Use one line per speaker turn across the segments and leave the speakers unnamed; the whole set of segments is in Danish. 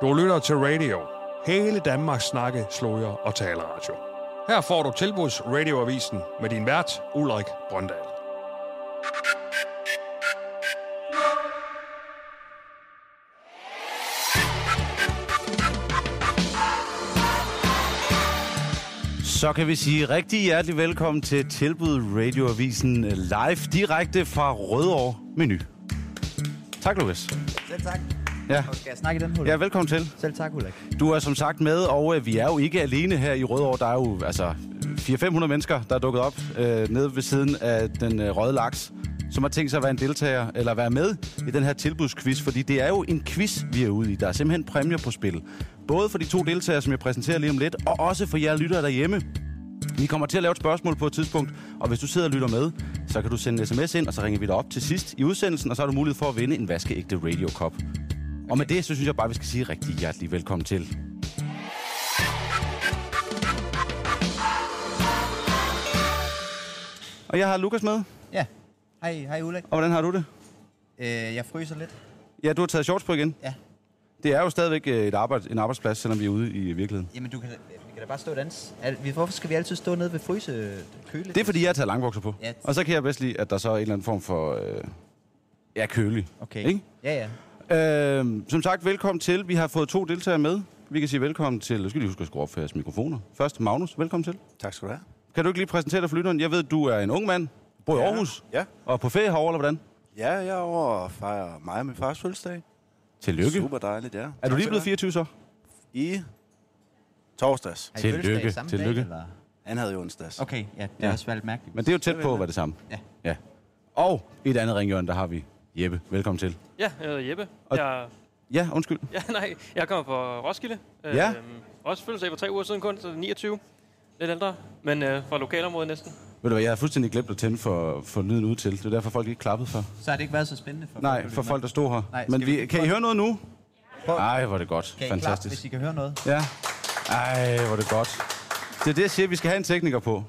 Du lytter til radio. Hele Danmarks snakke, sloger og taleradio. Her får du tilbuds radioavisen med din vært, Ulrik Brøndal.
Så kan vi sige rigtig hjertelig velkommen til Tilbud Radioavisen øh, live direkte fra Rødovre Menu. Tak, Lukas.
Selv tak.
Ja.
Og skal jeg snakke i den, Ulrik?
ja, velkommen til.
Selv tak, Ulrik.
Du er som sagt med, og øh, vi er jo ikke alene her i Rødovre. Der er jo altså 400-500 mennesker, der er dukket op øh, nede ved siden af den øh, røde laks, som har tænkt sig at være en deltager eller være med i den her tilbudsquiz, fordi det er jo en quiz, vi er ude i. Der er simpelthen præmier på spil. Både for de to deltagere, som jeg præsenterer lige om lidt, og også for jer lyttere derhjemme. Vi kommer til at lave et spørgsmål på et tidspunkt, og hvis du sidder og lytter med, så kan du sende en sms ind, og så ringer vi dig op til sidst i udsendelsen, og så har du mulighed for at vinde en vaskeægte radiokop. Og med det, så synes jeg bare, vi skal sige rigtig hjertelig velkommen til. Og jeg har Lukas med,
Ja. Hej, hej Ulrik.
og hvordan har du det?
Øh, jeg fryser lidt.
Ja, du har taget shorts på igen.
Ja.
Det er jo stadigvæk øh, et arbejde, en arbejdsplads, selvom vi er ude i virkeligheden.
Jamen, du kan, øh, vi kan da bare stå og danse. Al- vi- Hvorfor skal vi altid stå nede ved fryse øh, køle?
Det er, fordi jeg har taget langbukser på.
Ja.
Og så kan jeg bedst lide, at der så er en eller anden form for... Øh, ja, kølig.
Okay.
Ikke?
Ja, ja.
Øh, som sagt, velkommen til. Vi har fået to deltagere med. Vi kan sige velkommen til... Jeg skal lige huske at skrue op for jeres mikrofoner. Først Magnus, velkommen til.
Tak skal du have.
Kan du ikke lige præsentere dig for lytteren? Jeg ved, du er en ung mand, bor i ja. Aarhus,
Ja.
og er på ferie herovre, eller hvordan?
Ja, jeg er over og fejrer mig og min fars fødselsdag.
Tillykke.
Super dejligt, ja.
Er du lige blevet
fire?
24 så?
I torsdags.
Har I
Tillykke.
fødselsdag i samme
Tillykke.
Dag, eller?
Han havde jo onsdags.
Okay, ja, det er
Ja.
også valgt mærkeligt.
Men det er jo tæt på at være det samme.
Ja.
ja. Og i et andet ringhjørne, der har vi Jeppe. Velkommen til.
Ja, jeg hedder Jeppe.
Og-
Jeg,
Ja, undskyld.
ja, nej, jeg kommer fra Roskilde.
Ja.
Øhm, også fødselsdag for tre uger siden kun, så 29. Lidt ældre, men øh, fra lokalområdet næsten.
Ved du hvad, jeg havde fuldstændig glemt at tænde for, for lyden ud til. Det er derfor, folk ikke klappede for.
Så har det ikke været så spændende for
Nej, for folk, der stod her.
Nej,
Men
skal vi-
vi, kan I høre noget nu?
Prøv.
Nej, hvor er det godt.
kan I Fantastisk. Klap,
Fantastisk.
hvis I kan høre noget?
Ja. Ej, hvor er det godt. Det er det, jeg siger, vi skal have en tekniker på.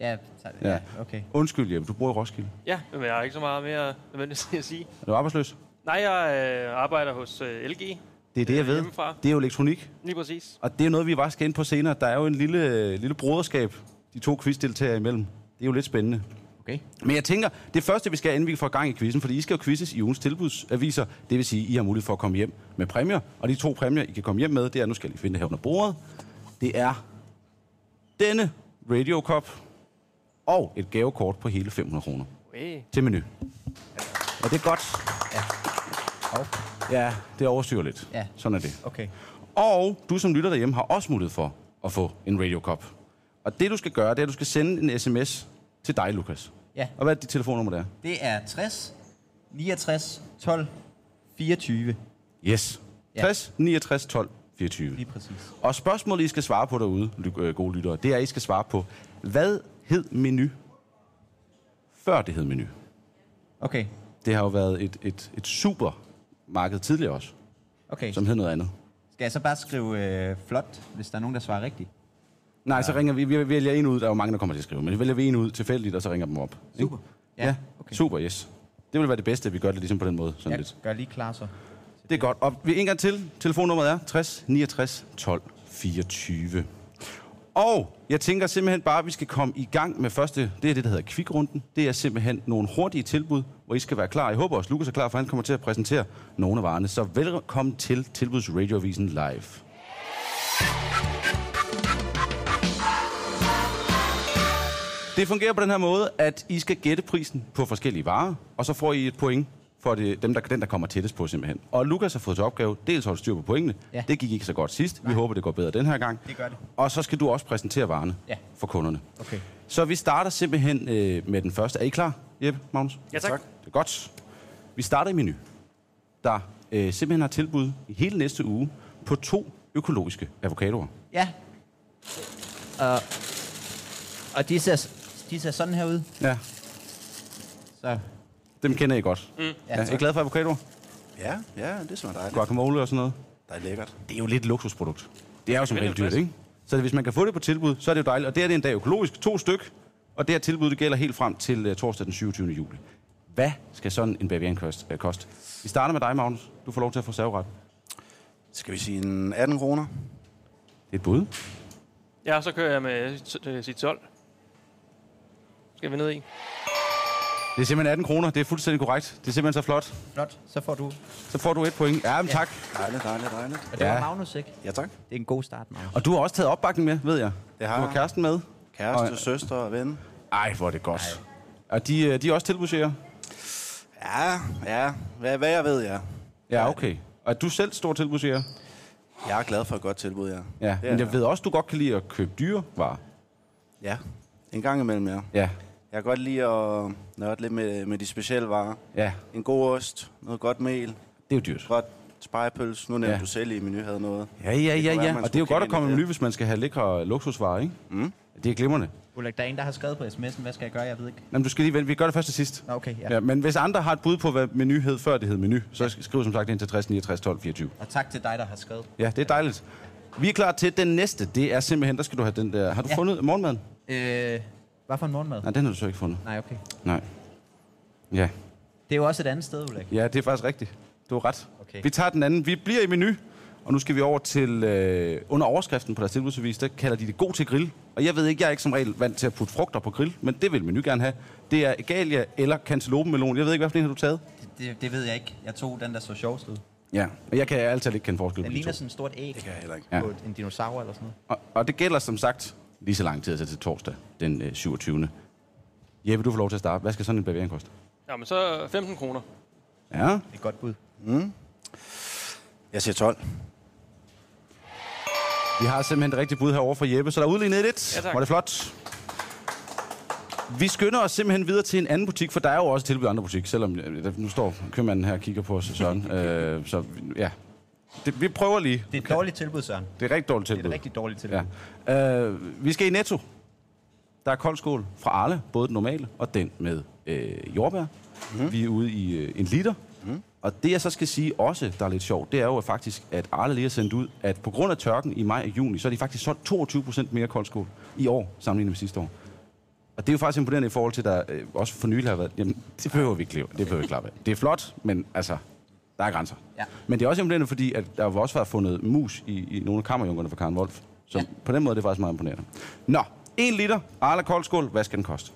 Ja, så,
Ja.
ja. okay.
Undskyld, Jeppe, du bor i Roskilde.
Ja, men jeg har ikke så meget mere nødvendigt at sige.
Er du arbejdsløs?
Nej, jeg øh, arbejder hos øh, LG.
Det er det, jeg ved.
Hjemmefra.
Det er jo elektronik.
Lige præcis.
Og det er noget, vi bare skal ind på senere. Der er jo en lille, lille broderskab, de to quizdeltagere imellem. Det er jo lidt spændende.
okay.
Men jeg tænker, det første, vi skal have, inden vi får gang i quizzen, fordi I skal jo quizzes i ugens tilbudsaviser. Det vil sige, I har mulighed for at komme hjem med præmier. Og de to præmier, I kan komme hjem med, det er, nu skal jeg lige finde det her under bordet. Det er denne Radio Cup og et gavekort på hele 500 kroner
Hey.
til menu. Og det er godt.
Og,
Ja, det overstyrer lidt.
Ja.
Sådan er det.
okay.
Og du som lytter derhjemme har også mulighed for at få en Radio Cup. Og det, du skal gøre, det er, at du skal sende en sms til dig, Lukas.
Ja.
Og hvad er dit telefonnummer, der?
Det er 60, 69, 12, 24.
Yes.
Ja.
60, 69, 12, 24.
Lige præcis.
Og spørgsmålet, I skal svare på derude, ly- øh, gode lyttere, det er, I skal svare på, hvad hed menu, før det hed menu?
Okay.
Det har jo været et, et, et supermarked tidligere også,
Okay.
som hed noget andet.
Skal jeg så bare skrive øh, flot, hvis der er nogen, der svarer rigtigt?
Nej, så ringer vi, vi vælger en ud, der er jo mange, der kommer til at skrive, men vi vælger vi en ud tilfældigt, og så ringer dem op. ikke?
Super.
Ja, ja okay. super, yes. Det vil være det bedste, at vi gør det ligesom på den måde. Sådan
Jeg
lidt.
gør lige klar så.
Det er godt. Og vi en gang til. Telefonnummeret er 60 69 12 24. Og jeg tænker simpelthen bare, at vi skal komme i gang med første, det er det, der hedder kvikrunden. Det er simpelthen nogle hurtige tilbud, hvor I skal være klar. Jeg håber også, Lukas er klar, for han kommer til at præsentere nogle af varerne. Så velkommen til Tilbuds Radioavisen live. Det fungerer på den her måde, at I skal gætte prisen på forskellige varer, og så får I et point for det, dem, der, den, der kommer tættest på simpelthen. Og Lukas har fået til opgave, dels at holde styr på pointene.
Ja.
Ja. Det gik ikke så godt sidst. Vi håber, det går bedre den her gang.
Det gør det.
Og så skal du også præsentere varerne
Ja.
for kunderne.
Okay.
Så vi starter simpelthen øh, med den første. Er I klar, Jeppe, Magnus?
Ja, tak. tak.
Det er godt. Vi starter i menu, der øh, simpelthen har tilbud i hele næste uge på to økologiske avocadoer.
Ja. Og, og de, ser, de ser sådan her ud.
Ja,
Så
dem kender I godt. Mm. Ja,
ja,
er I glad for avocadoer?
Ja, ja, det smager dejligt.
Guacamole og sådan noget?
Det er lækkert.
Det er jo lidt et luksusprodukt. Det er jo som
Men det er
regel dyrt,
frisk.
ikke? Så hvis man kan få det på tilbud, så er det jo øh, dejligt. Og det er det endda økologisk. To styk. Og det her tilbud, det gælder helt frem til uh, torsdag den 27. juli. Hvad skal sådan en bavian kost- øh, koste? Vi starter med dig, Magnus. Du får lov til at få serveret.
Skal vi sige en 18 kroner?
Det er et bud.
Ja, så kører jeg med t- øh, sit 12. Skal vi ned i?
Det er simpelthen 18 kroner. Det er fuldstændig korrekt. Det er simpelthen så flot.
Flot, så får du.
Så får du et point. Ja, men tak.
Dejligt, dejligt, dejligt.
Og det
Ja.
ja. var Magnus, ikke?
Ja, tak.
Det er en god start, Magnus.
Og du har også taget opbakning med, ved jeg.
Det har
du har
jeg.
kæresten med.
Kæreste,
Og-
søster og ven.
Ej, hvor er det godt. Og de, øh, de er også tilbudsjæger?
Ja, ja. Hvad, hvad jeg ved, ja.
Ja, okay. Og er du selv stor tilbudsjæger?
Jeg er glad for et godt tilbud, ja.
Ja,
Det er
men jeg ved også, du godt kan lide at købe dyrevarer.
Ja, en gang imellem, ja.
Ja,
Jeg kan godt lide at nørde lidt med, med de specielle varer.
ja.
En god ost, noget godt mel,
Det er jo dyrt.
godt spejepøls. Nu nævnte
Ja.
ja. du selv i menu havde noget.
Ja, ja,
Det
ja,
kunne være,
ja.
man
Og det er jo
skulle
godt
kigge
at komme
ind i
med
det.
ny, hvis man skal have lækre luksusvarer, ikke? Mm. Det er glimrende.
Ulrik, der er en, der har skrevet på sms'en, hvad skal jeg gøre, jeg ved ikke.
Jamen, du skal lige vente. Vi gør det først til sidst.
Nå, okay, ja.
Ja, men hvis andre har et bud på, hvad menu hed, før det hed menu, så skriv som sagt ind til 60 69 12 24.
Og tak til dig, der har skrevet.
Ja, det er dejligt. Vi er klar til den næste. Det er simpelthen, der skal du have den der. Har du ja.
Ja.
fundet morgenmaden?
Øh, hvad for en morgenmad?
Nej, den har du så ikke fundet.
Nej, okay.
Nej. Ja,
Det er jo også et andet sted, Ulrik.
ja det er faktisk rigtigt. Du har ret.
Okay.
Vi tager den anden. Vi bliver i menu. Og nu skal vi over til, øh, under overskriften på deres tilbudsavis, der kalder de det god til grill. Og jeg ved ikke, jeg er ikke som regel vant til at putte frugter på grill, men det vil menu gerne have. Det er egalia eller cantaloupemelon. Jeg ved ikke, hvad for en har du taget?
Det, det, det ved jeg ikke. Jeg tog den, der så sjovest ud.
Ja, og jeg kan altid ikke kende forskel på
Den
de to.
ligner sådan et stort æg
Det kan jeg heller ikke.
Ja.
ja. på et- en dinosaur eller sådan noget.
Og, og det gælder som sagt lige så lang tid altså til torsdag, den øh, 27. Jeppe, du får lov til at starte. Hvad skal sådan en bavarian koste?
Jamen, så 15 kroner.
Ja,
Det er et godt bud.
Jeg siger 12.
vi har simpelthen det rigtige bud herovre fra Jeppe, så der er udlignet lidt.
Ja, tak.
Var det flot? Vi skynder os simpelthen videre til en anden butik, for der er jo også tilbud i andre butik, selvom øh, der- nu står købmanden her og kigger på os, Søren. øh, så ja, det, vi prøver lige.
Det er et dårligt tilbud, Søren. Det
Det er et rigtig dårligt
er
tilbud.
et rigtig dårligt tilbud.
Ja.
Ja.
Øh, vi skal i Netto. Der er koldskål fra Arle, både den normale og den med øh, jordbær. Mm. Vi er ude i øh, en liter. Mm. Og det, jeg så skal sige også, der er lidt sjovt, det er jo faktisk, at Arle lige har sendt ud, at på grund af tørken i maj og juni, så er de faktisk solgt 22 procent mere koldskål i år, sammenlignet med sidste år. Og det er jo faktisk imponerende i forhold til, der øh, også for nylig har været, jamen, det behøver vi ikke leve, det behøver vi ikke klappe af. Det er flot, men altså, der er grænser.
Ja.
Men det er også imponerende, fordi at der har også været fundet mus i, i nogle af kammerjunkerne fra Karen Wolf. Så ja.
Ja.
på den måde er det faktisk meget imponerende. Nå, 1 liter Arla Koldskål. Hvad skal den koste?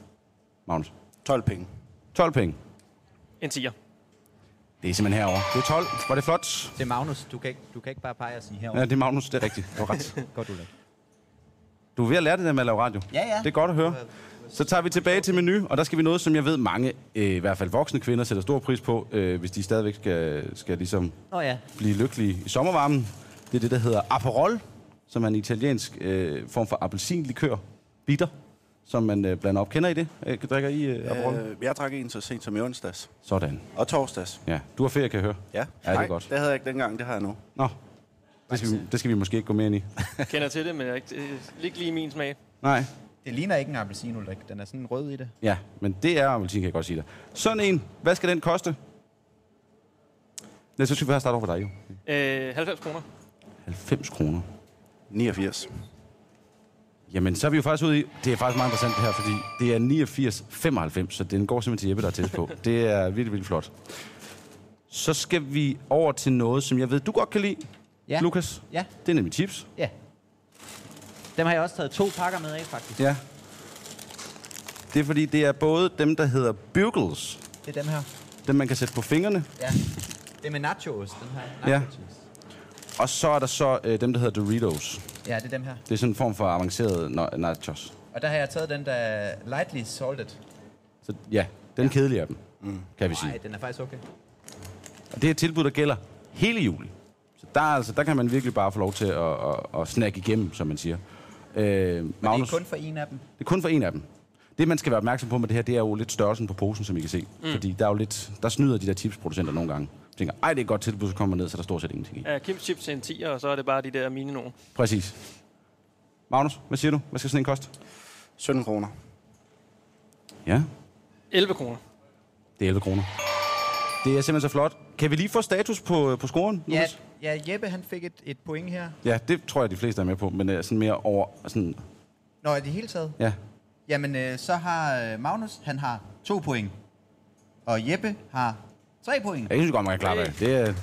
Magnus.
12 penge.
12 penge.
En 10'er.
Det er simpelthen herovre. Det er 12. Var det flot?
Det er Magnus. Du kan, ikke, du kan ikke bare pege og sige
Ja,
herovre.
det er Magnus. Det er rigtigt. Du har ret.
Ja. Godt, Ulrik.
Du er ved at lære det der med at lave radio.
Ja, ja.
Det er godt at høre. Så tager vi tilbage til menu, og der skal vi noget, som jeg ved mange, øh, i hvert fald voksne kvinder, sætter stor pris på, øh, hvis de stadigvæk skal, skal ligesom
Nå ja.
blive lykkelige i sommervarmen. Det er det, der hedder Aperol, som er en italiensk øh, form for appelsinlikør, bitter, som man øh, blander op. Kender I det? Øh, drikker I øh, Aperol? Øh.
Øh, jeg drak en så sent som i onsdags.
Sådan.
Og torsdags.
Ja, du har ferie, kan jeg høre.
Ja,
Ja, det er godt.
det havde jeg ikke dengang, det har jeg nu.
Nå, det skal, vi, det skal vi måske ikke gå mere ind i.
Jeg kender til det, men jeg er ikke, øh, ikke lige min smag.
Nej.
Det ligner ikke en appelsin, Ulrik. Den er sådan rød i det.
Ja, men det er appelsin, kan jeg godt sige dig. Sådan en, hvad skal den koste? Ja, så skal vi først starte over for dig, jo.
Øh, 90 kroner.
90 kroner.
89.
Jamen, så er vi jo faktisk ude i... Det er faktisk meget interessant det her, fordi det er 89,95, så den går simpelthen til Jeppe, der er tæt på. Det er virkelig, virkelig flot. Så skal vi over til noget, som jeg ved, du godt kan lide, ja.
Ja.
Lukas.
Ja.
Det er nemlig chips.
Ja. Dem har jeg også taget to pakker med af, faktisk.
Ja. Det er fordi, det er både dem, der hedder bugles,
Det er dem her.
dem man kan sætte på fingrene,
Ja. Det er med nachoost, den her.
Ja.
Nachoost.
og så er der så øh, dem, der hedder Doritos.
Ja, det er dem her.
Det er sådan en form for avanceret na- nachos.
Og der har jeg taget den, der er lightly salted.
Så ja, den ja. kedelige af dem, mm. kan vi sige.
Nej, den er faktisk okay.
Og det er et tilbud, der gælder hele juli. Så der, er altså, der kan man virkelig bare få lov til at, at, at snakke igennem, som man siger. Øh, Magnus,
Det er kun for en af dem.
det er kun for en af dem. Det, man skal være opmærksom på med det her, det er jo lidt størrelsen på posen, som I kan se. Mm. Fordi der er jo lidt, der snyder de der chipsproducenter nogle gange. De tænker, ej, det er et godt tilbud, så kommer man ned, så der er stort set ingenting i.
Ja, Kim's chips til en 10'er, og så er det bare de der mine nogen.
Præcis. Magnus, hvad siger du? Hvad skal sådan en koste?
17 kroner.
Ja,
11 kroner.
det er 11 kroner. Det er simpelthen så flot. Kan vi lige få status på, på scoren,
Ja,
Lukas?
ja, Jeppe han fik et, et point her.
Ja, det tror jeg, de fleste er med på, men øh, sådan mere over... Sådan,
Nå, i det hele taget?
ja,
Jamen, øh, så har øh, Magnus, han har to point.
Og Jeppe har 3 point.
Jeg synes godt, man kan klappe af. Det, er-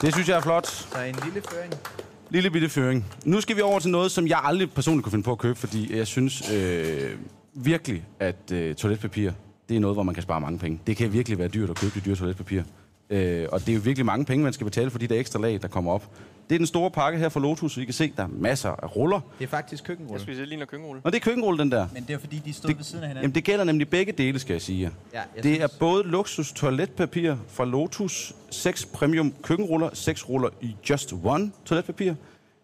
det synes jeg er flot.
Så en lille føring.
Lille bitte føring. Nu skal vi over til noget, som jeg aldrig personligt kunne finde på at købe, fordi jeg synes øh, virkelig, at øh, toiletpapir, det er noget, hvor man kan spare mange penge. Det kan virkelig være dyrt at købe det dyre toiletpapir. Øh, og det er jo virkelig mange penge, man skal betale for de der ekstra lag, der kommer op. Det er den store pakke her fra Lotus, I kan se, der er masser af ruller.
Det er faktisk
Jeg
køkkenrulle.
spiser lige noget køkkenrulle.
Og det er køkkenrulle, den der.
Men det er fordi, de stod ved siden af hinanden.
Jamen, det gælder nemlig begge dele, skal jeg sige jer.
Ja, jeg
det er
synes-
både luksus toiletpapir fra Lotus, 6 premium køkkenruller, 6 ruller i Just One toiletpapir,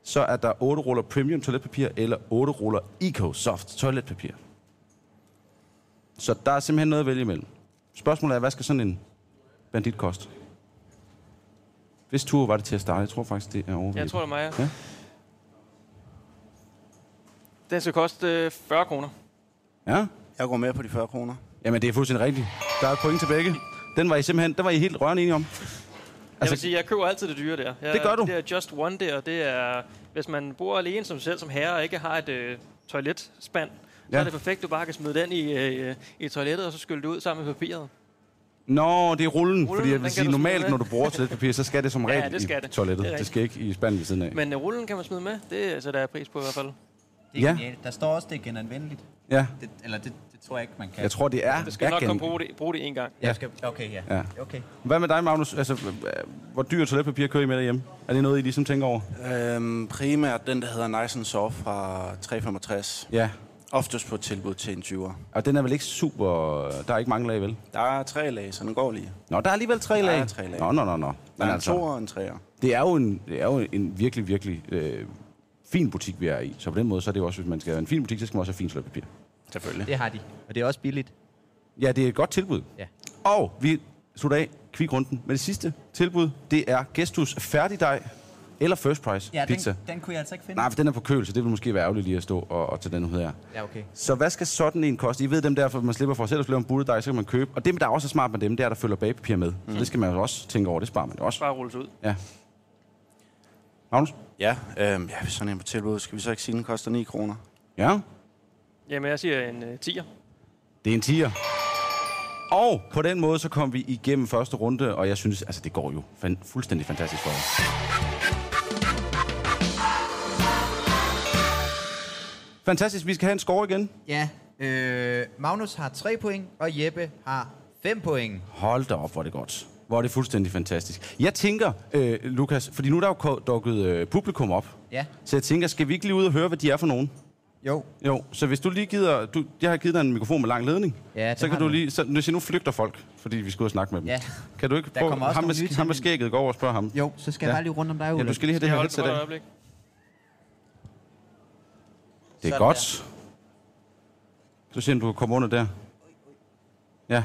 så er der 8 ruller premium toiletpapir eller 8 ruller Eco Soft toiletpapir. Så der er simpelthen noget at vælge imellem. Spørgsmålet er, hvad skal sådan en bandit koste? Hvis tur var det til at starte, jeg tror faktisk, det er over.
Jeg tror, det er mig.
Ja.
Ja. Den skal koste øh, 40 kroner.
Ja?
Jeg går med på de 40 kroner.
Jamen, det er fuldstændig rigtigt. Der er et point til begge. Den var I simpelthen, den var I helt rørende enige om.
Jeg
Altså-
vil sige, jeg køber altid det dyre der. Jeg,
Det gør du.
Det der Just One der, det er... Hvis man bor alene som selv som herre og ikke har et øh, toiletspand, så
Ja.
er det perfekt, du bare kan smide den i, øh, i toilettet, og så skylle det ud sammen med papiret.
Nå, det er rullen,
Rullen,
fordi jeg
den
vil
kan
sige,
du smide
normalt
med.
når du bruger toiletpapir, så skal det som
Ja,
regel
det skal
i
det.
toilettet.
Det er
Det, det skal ikke i spanden ved siden af. Men,
Men øh, rullen kan man smide med. Det sætter jeg pris på i hvert fald.
Det
Ja.
er genialt. Der står også, det er genanvendeligt.
ja,
Det, eller det, det tror jeg ikke, man kan.
jeg tror, det er
Det skal nok
erkendt.
komme bruge det, bruge det en gang.
Jeg skal, okay, ja.
Ja.
Okay.
Hvad med dig, Magnus? Altså, h- hvor dyr toiletpapir kører I med derhjemme? Er det noget, I ligesom tænker over?
Øhm, primært den, der hedder Nice and Soft fra 365.
Ja.
Oftest på et tilbud til en 20'er.
Og den er vel ikke super... Der er ikke mange lag, vel?
Der er tre lag, så den går lige.
Nå, der er alligevel tre
Der
lag.
er tre lag.
Nå, nå, nå, nå.
Der
Men
er en
altså,
toer og en treer.
det er jo en, det er jo en virkelig, virkelig øh, fin butik, vi er i. Så på den måde, så er det jo også, hvis man skal have en fin butik, så skal man også have fint toiletpapir.
Selvfølgelig.
Det har de. Og det er også billigt.
Ja, det er et godt tilbud.
Ja.
Og vi slutter af kvikrunden med det sidste tilbud. Det er Gestus færdigdej eller first price
Ja,
pizza.
Den, den kunne jeg altså ikke finde.
Nej, for den er på køl, så det vil måske være ærgerligt lige at stå og, og tage den ud her.
Ja, okay.
Så hvad skal sådan en koste? I ved dem der, for man slipper for at selv at lave en buttedej, så kan man købe. Og det, der også er smart med dem, det er, der følger bagpapir med.
Mhm.
Mm. Så det skal man jo også tænke over, det sparer man jo også.
Bare rulles ud.
Ja. Magnus?
Ja, øhm, ja, hvis sådan en på tilbud, skal vi så ikke sige, at den koster 9 kroner?
Ja?
Jamen, jeg siger en øh, 10'er.
Det er en tiger. Og på den måde, så kom vi igennem første runde, og jeg synes, altså det går jo fan- fuldstændig fantastisk for jer. Fantastisk, vi skal have en score igen.
Ja, øh, Magnus har 3 point, og Jeppe har 5 point.
Hold da op, hvor er det godt. Hvor er det fuldstændig fantastisk. Jeg tænker, øh, Lukas, fordi nu er der jo ko- dukket øh, publikum op.
Ja,
Så jeg tænker, skal vi ikke lige ud og høre, hvad de er for nogen?
jo.
Jo, så hvis du lige gider... Du, jeg har givet dig en mikrofon med lang ledning.
Ja, det
så kan
har
du
du.
lige... Så, nu, siger, nu flygter folk, fordi vi skulle ud og snakke med dem.
Ja.
Kan du ikke
Der
prøve...
kommer også
ham,
nogle nye
med,
til,
ham med
men-
skægget, gå over og spørge ham.
Jo, så skal
Ja.
jeg bare lige rundt om dig,
Ja,
Ole.
du skal lige have det
Jeg
her
holder det
headset
på et
af.
øjeblik.
Det er godt. Så siger han, du kan komme under der. Ja.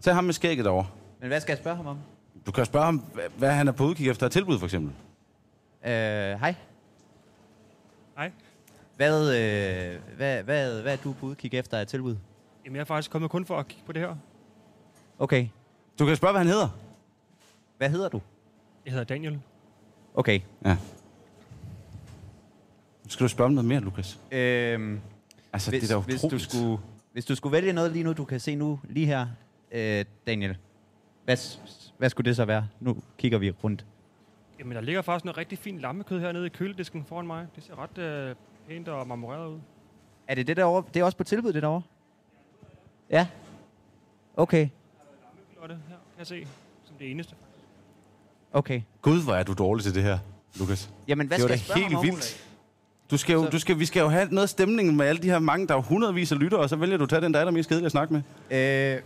Tag ham med skægget over.
Men hvad skal jeg spørge ham om?
Du kan spørge ham, hva- hvad han er på udkig efter af tilbud, for eksempel.
Øh, hej.
Hej.
Hvad, øh, hvad, hvad, hvad er du på udkig efter af tilbud?
Jamen, jeg er faktisk kommet kun for at kigge på det her.
Okay.
Du kan spørge, hvad han hedder.
Hvad hedder du?
Jeg hedder Daniel.
Okay.
Ja. Skal du spørge om noget mere, Lukas?
Øhm,
Altså,
hvis,
det er da
hvis, du
utroligt.
skulle, hvis du skulle vælge noget lige nu, du kan se nu lige her, øh, Daniel. Hvad, s- hvad skulle det så være? Nu kigger vi rundt.
Jamen, der ligger faktisk noget rigtig fint lammekød hernede i køledisken foran mig. Det ser ret øh, pænt og marmoreret ud.
Er det det derovre? Det er også på tilbud, det derovre? Ja. Okay.
Flotte her, kan jeg se. Som det eneste.
Okay.
Gud, hvor er du dårlig til det her, Lukas.
Jamen, hvad
det
skal
var
jeg
da
spørge
helt
ham om?
vildt. Du skal jo, du skal, vi skal jo have noget stemning med alle de her mange, der er jo hundredvis af lyttere, og så vælger du at tage den, der er allermest kedelig at snakke med.
Øh,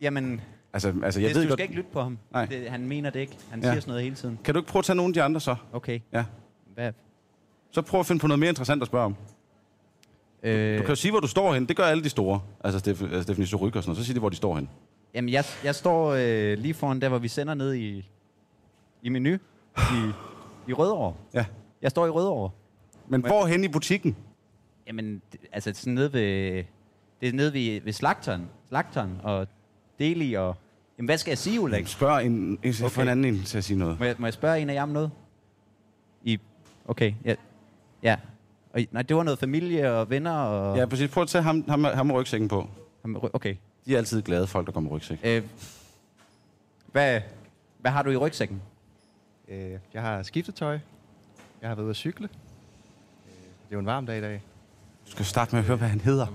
jamen,
Altså, altså jeg
jeg
ved
du
godt,
skal ikke lytte på ham.
Nej.
Det, han mener det ikke. Han
Ja.
siger sådan noget hele tiden.
kan du ikke prøve at tage nogle af de andre så?
Okay.
Ja.
Hvad?
Så prøv at finde på noget mere interessant at spørge om.
Øh,
Du kan jo sige, hvor du står hen. Det gør alle de store. Altså, Stef, altså Stephanie Suryk og sådan noget. Så sig det, hvor de står hen.
Jamen, jeg, jeg står øh, lige foran der, hvor vi sender ned i, i menu. I, I Rødovre.
Ja.
Jeg står i Rødovre.
Men hvor hen i butikken?
Jamen, d- altså sådan nede ved, det er nede ved, ved slagteren, slagteren og Deli og... Jamen, hvad skal jeg sige, Ulrik?
Spørg en, en, okay. for en anden en til at sige noget.
Må jeg, må jeg spørge en af jer om noget? I, okay, ja. ja. Og, I- nej, det var noget familie og venner og...
Ja, præcis. Prøv at tage ham, ham, ham med rygsækken på.
Ham- Okay.
De er altid glade, folk, der kommer med rygsæk.
Øh, hvad, hvad har du i rygsækken?
Øh, jeg har skiftet tøj. Jeg har været ude at cykle. Øh, Det er jo en varm dag i dag.
Du skal starte med at høre, hvad han hedder.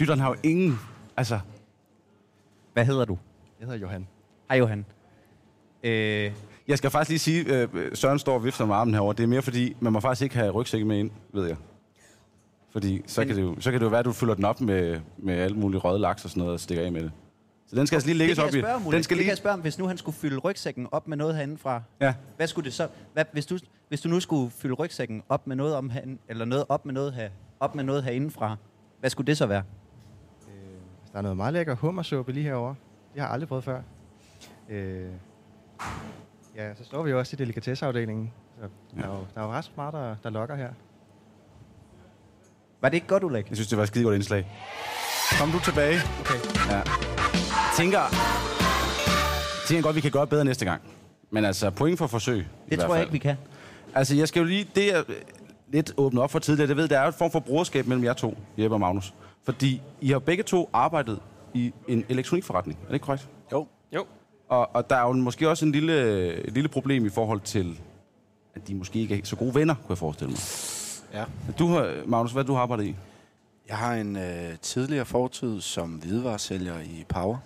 Dytteren har jo ingen... Altså,
Hvad hedder du?
Jeg hedder Johan.
Hej Johan. Øh,
jeg skal faktisk lige sige, øh, Søren står og vifter med armen herover. Det er mere fordi, man må faktisk ikke have rygsæk med ind, ved jeg. Fordi så, kan det, jo, så kan det jo være, at du fylder den op med, med alle mulige røde laks og sådan noget og stikker af med det. Så den skal altså lige
det
lægges
kan jeg
op i...
spørge om, Ole.
Den skal
det kan
lige...
jeg spørge om, hvis nu han skulle fylde rygsækken op med noget herindefra.
Ja.
Hvad skulle det så... Hvad, hvis, du, hvis du nu skulle fylde rygsækken op med noget om herinde, eller noget op med noget her, op med noget herindefra, hvad skulle det så være?
Altså, Der er noget meget lækker hummersuppe lige herovre. Det har jeg aldrig prøvet før. Øh, ja, så står vi jo også i delikatesseafdelingen. Så der, er jo, der er jo ret smarte, der, der lokker her.
Var det ikke godt, Ulrik?
Jeg synes, det var et skidegodt indslag. Kom du tilbage.
Okay.
Ja. Tænker, tænker godt, vi kan gøre bedre næste gang. Men altså, point for forsøg. i
Det
hvert
tror jeg
fald.
ikke, vi kan.
Altså, jeg skal jo lige... Det er lidt åbnet op for tidligere. Det ved, der er jo et form for brugerskab mellem jer to, Jeppe og Magnus. Fordi I har begge to arbejdet i en elektronikforretning. Er det ikke korrekt? Jo.
Jo.
Og, og der er jo måske også en lille, et lille problem i forhold til, at de måske ikke er så gode venner, kunne jeg forestille mig.
Ja.
Du har, Magnus, hvad har du har arbejdet i?
Jeg har en øh, tidligere fortid som hvidevaresælger i Power.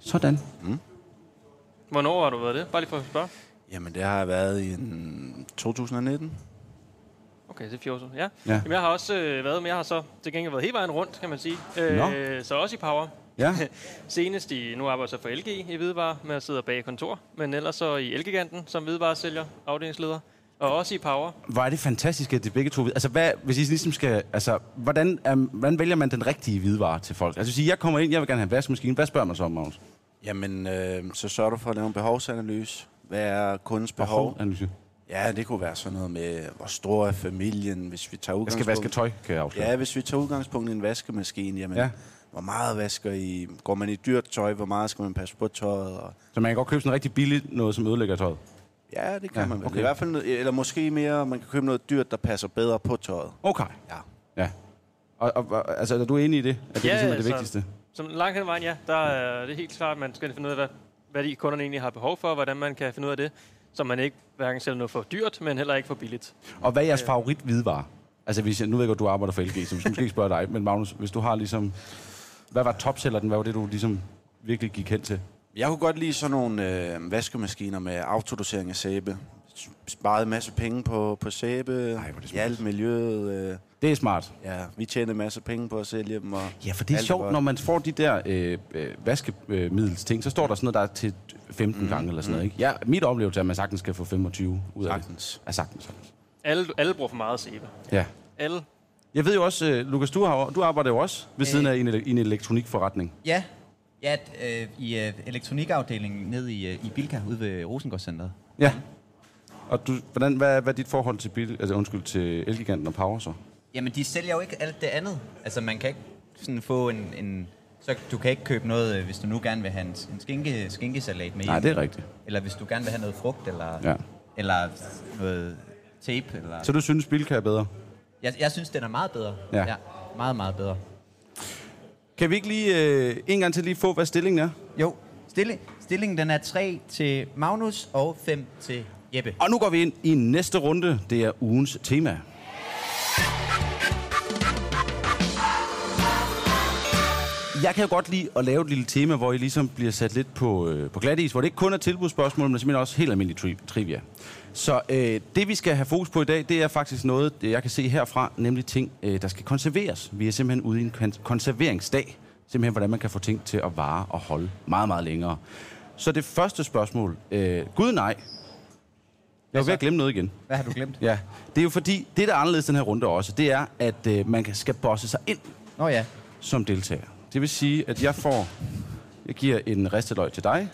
Sådan.
Hvornår har du været det? Bare lige for at spørge.
Jamen, det har jeg været i en 2019.
Okay, det er fire år siden. Ja.
Ja.
ja. Jamen, jeg har også øh, været, men jeg har så til gengæld været hele vejen rundt, kan man sige. Øh,
Nå.
så også i Power.
Ja.
Senest i, nu arbejder jeg så for LG i Hvidevare, med at sidde bag kontor, men ellers så i Elgiganten som hvidevaresælger, afdelingsleder, og også i Power.
Hvor er det fantastisk, at de begge to... Altså, hvad, hvis I ligesom skal... Altså, hvordan, um, hvordan vælger man den rigtige hvidevare til folk? Altså, sige, jeg kommer ind, jeg vil gerne have en vaskemaskine. Hvad spørger man så om, Magnus?
Jamen, øh, så sørger du for at lave en behovsanalyse. Hvad er kundens behov?
Analyse.
Ja, det kunne være sådan noget med, hvor stor er familien, hvis vi tager
Jeg skal
udgangspunkt...
vaske tøj, kan jeg afsløre.
Ja, hvis vi tager udgangspunkt i en vaskemaskine, jamen,
Ja.
ja. hvor meget vasker I? Går man i dyrt tøj? Hvor meget skal man passe på tøjet? Og
Så man kan godt købe sådan rigtig billigt noget, som ødelægger tøjet.
ja, det kan
Ja,
ja, man
okay.
vel. Okay. I hvert fald, noget- eller måske mere, man kan købe noget dyrt, der passer bedre på tøjet.
Okay.
Ja.
Ja. Og, og, og altså, er du enig i det? At det
Ja,
ja, ligesom er det
altså.
vigtigste?
Som langt hen ad vejen, ja, der er det helt klart, at man skal finde ud af, hvad, hvad de kunderne egentlig har behov for, og hvordan man kan finde ud af det, så man ikke hverken sælger noget for dyrt, men heller ikke for billigt.
Og hvad er jeres favorit hvidevare? Altså, hvis jeg, nu ved jeg godt, du arbejder for LG, så jeg måske ikke spørge dig. Men Magnus, hvis du har ligesom... Hvad var topselleren? Hvad var det, du ligesom virkelig gik hen til?
Jeg kunne godt lide sådan nogle øh, vaskemaskiner med autodosering af sæbe. S- Sparede en masse penge på, på sæbe.
hvor er det smart.
Hjalp miljøet. Øh,
Det er smart.
ja, vi tjener en masse penge på at sælge dem. Og
Ja, for det er
alt
sjovt,
godt.
når man får de der øh, øh, vaskemiddelsting, så står der sådan noget, der er til 15 mm. gange eller sådan noget, ikke? Ja, mit oplevelse er, at man sagtens kan få 25 ud af
Sagtens.
det. Ja, sagtens. sagtens.
Alle, alle bruger for meget sæbe.
Ja.
Alle.
Jeg ved jo også, øh, Lukas, du, har, du arbejder jo også ved siden af en, ele- i en elektronikforretning.
Ja, ja øh, i øh, elektronikafdelingen nede i, øh, i Bilka ude ved Rosengårdscenteret.
Ja. Og du, hvordan, hvad, er- hvad er dit forhold til, bil, altså, undskyld, til Elgiganten og Power så?
Jamen, de sælger jo ikke alt det andet. Altså, man kan ikke sådan få en... en så du kan ikke købe noget, øh, hvis du nu gerne vil have en, en skinke, skinkesalat med
Nej,
hjem.
det er rigtigt.
Eller hvis du gerne vil have noget frugt, eller,
Ja.
eller noget tape. Eller...
Så du synes, Bilka er bedre?
Jeg, jeg synes, den er meget bedre.
Ja.
meget, meget bedre.
Kan vi ikke lige øh, en gang til lige få, hvad stillingen er?
Jo, stilling, stillingen den er 3 til Magnus og 5 til Jeppe.
Og nu går vi ind i næste runde. Det er ugens tema. Jeg kan jo godt lide at lave et lille tema, hvor I ligesom bliver sat lidt på, øh, på glat is, hvor det ikke kun er tilbudsspørgsmål, men simpelthen også helt almindelig tri- trivia. Så øh, det, vi skal have fokus på i dag, det er faktisk noget, det jeg kan se herfra, nemlig ting, øh, der skal konserveres. Vi er simpelthen ude i en kon- konserveringsdag. Simpelthen, hvordan man kan få ting til at vare og holde meget, meget længere. Så det første spørgsmål. Øh, Gud nej. Jeg var ved at glemme noget igen.
Hvad har du glemt?
Ja, det er jo fordi, det der er anderledes den her runde også, det er, at øh, man kan- skal bosse sig ind
Nå ja.
som deltager. Det vil sige, at jeg får, jeg giver en risteløg til dig,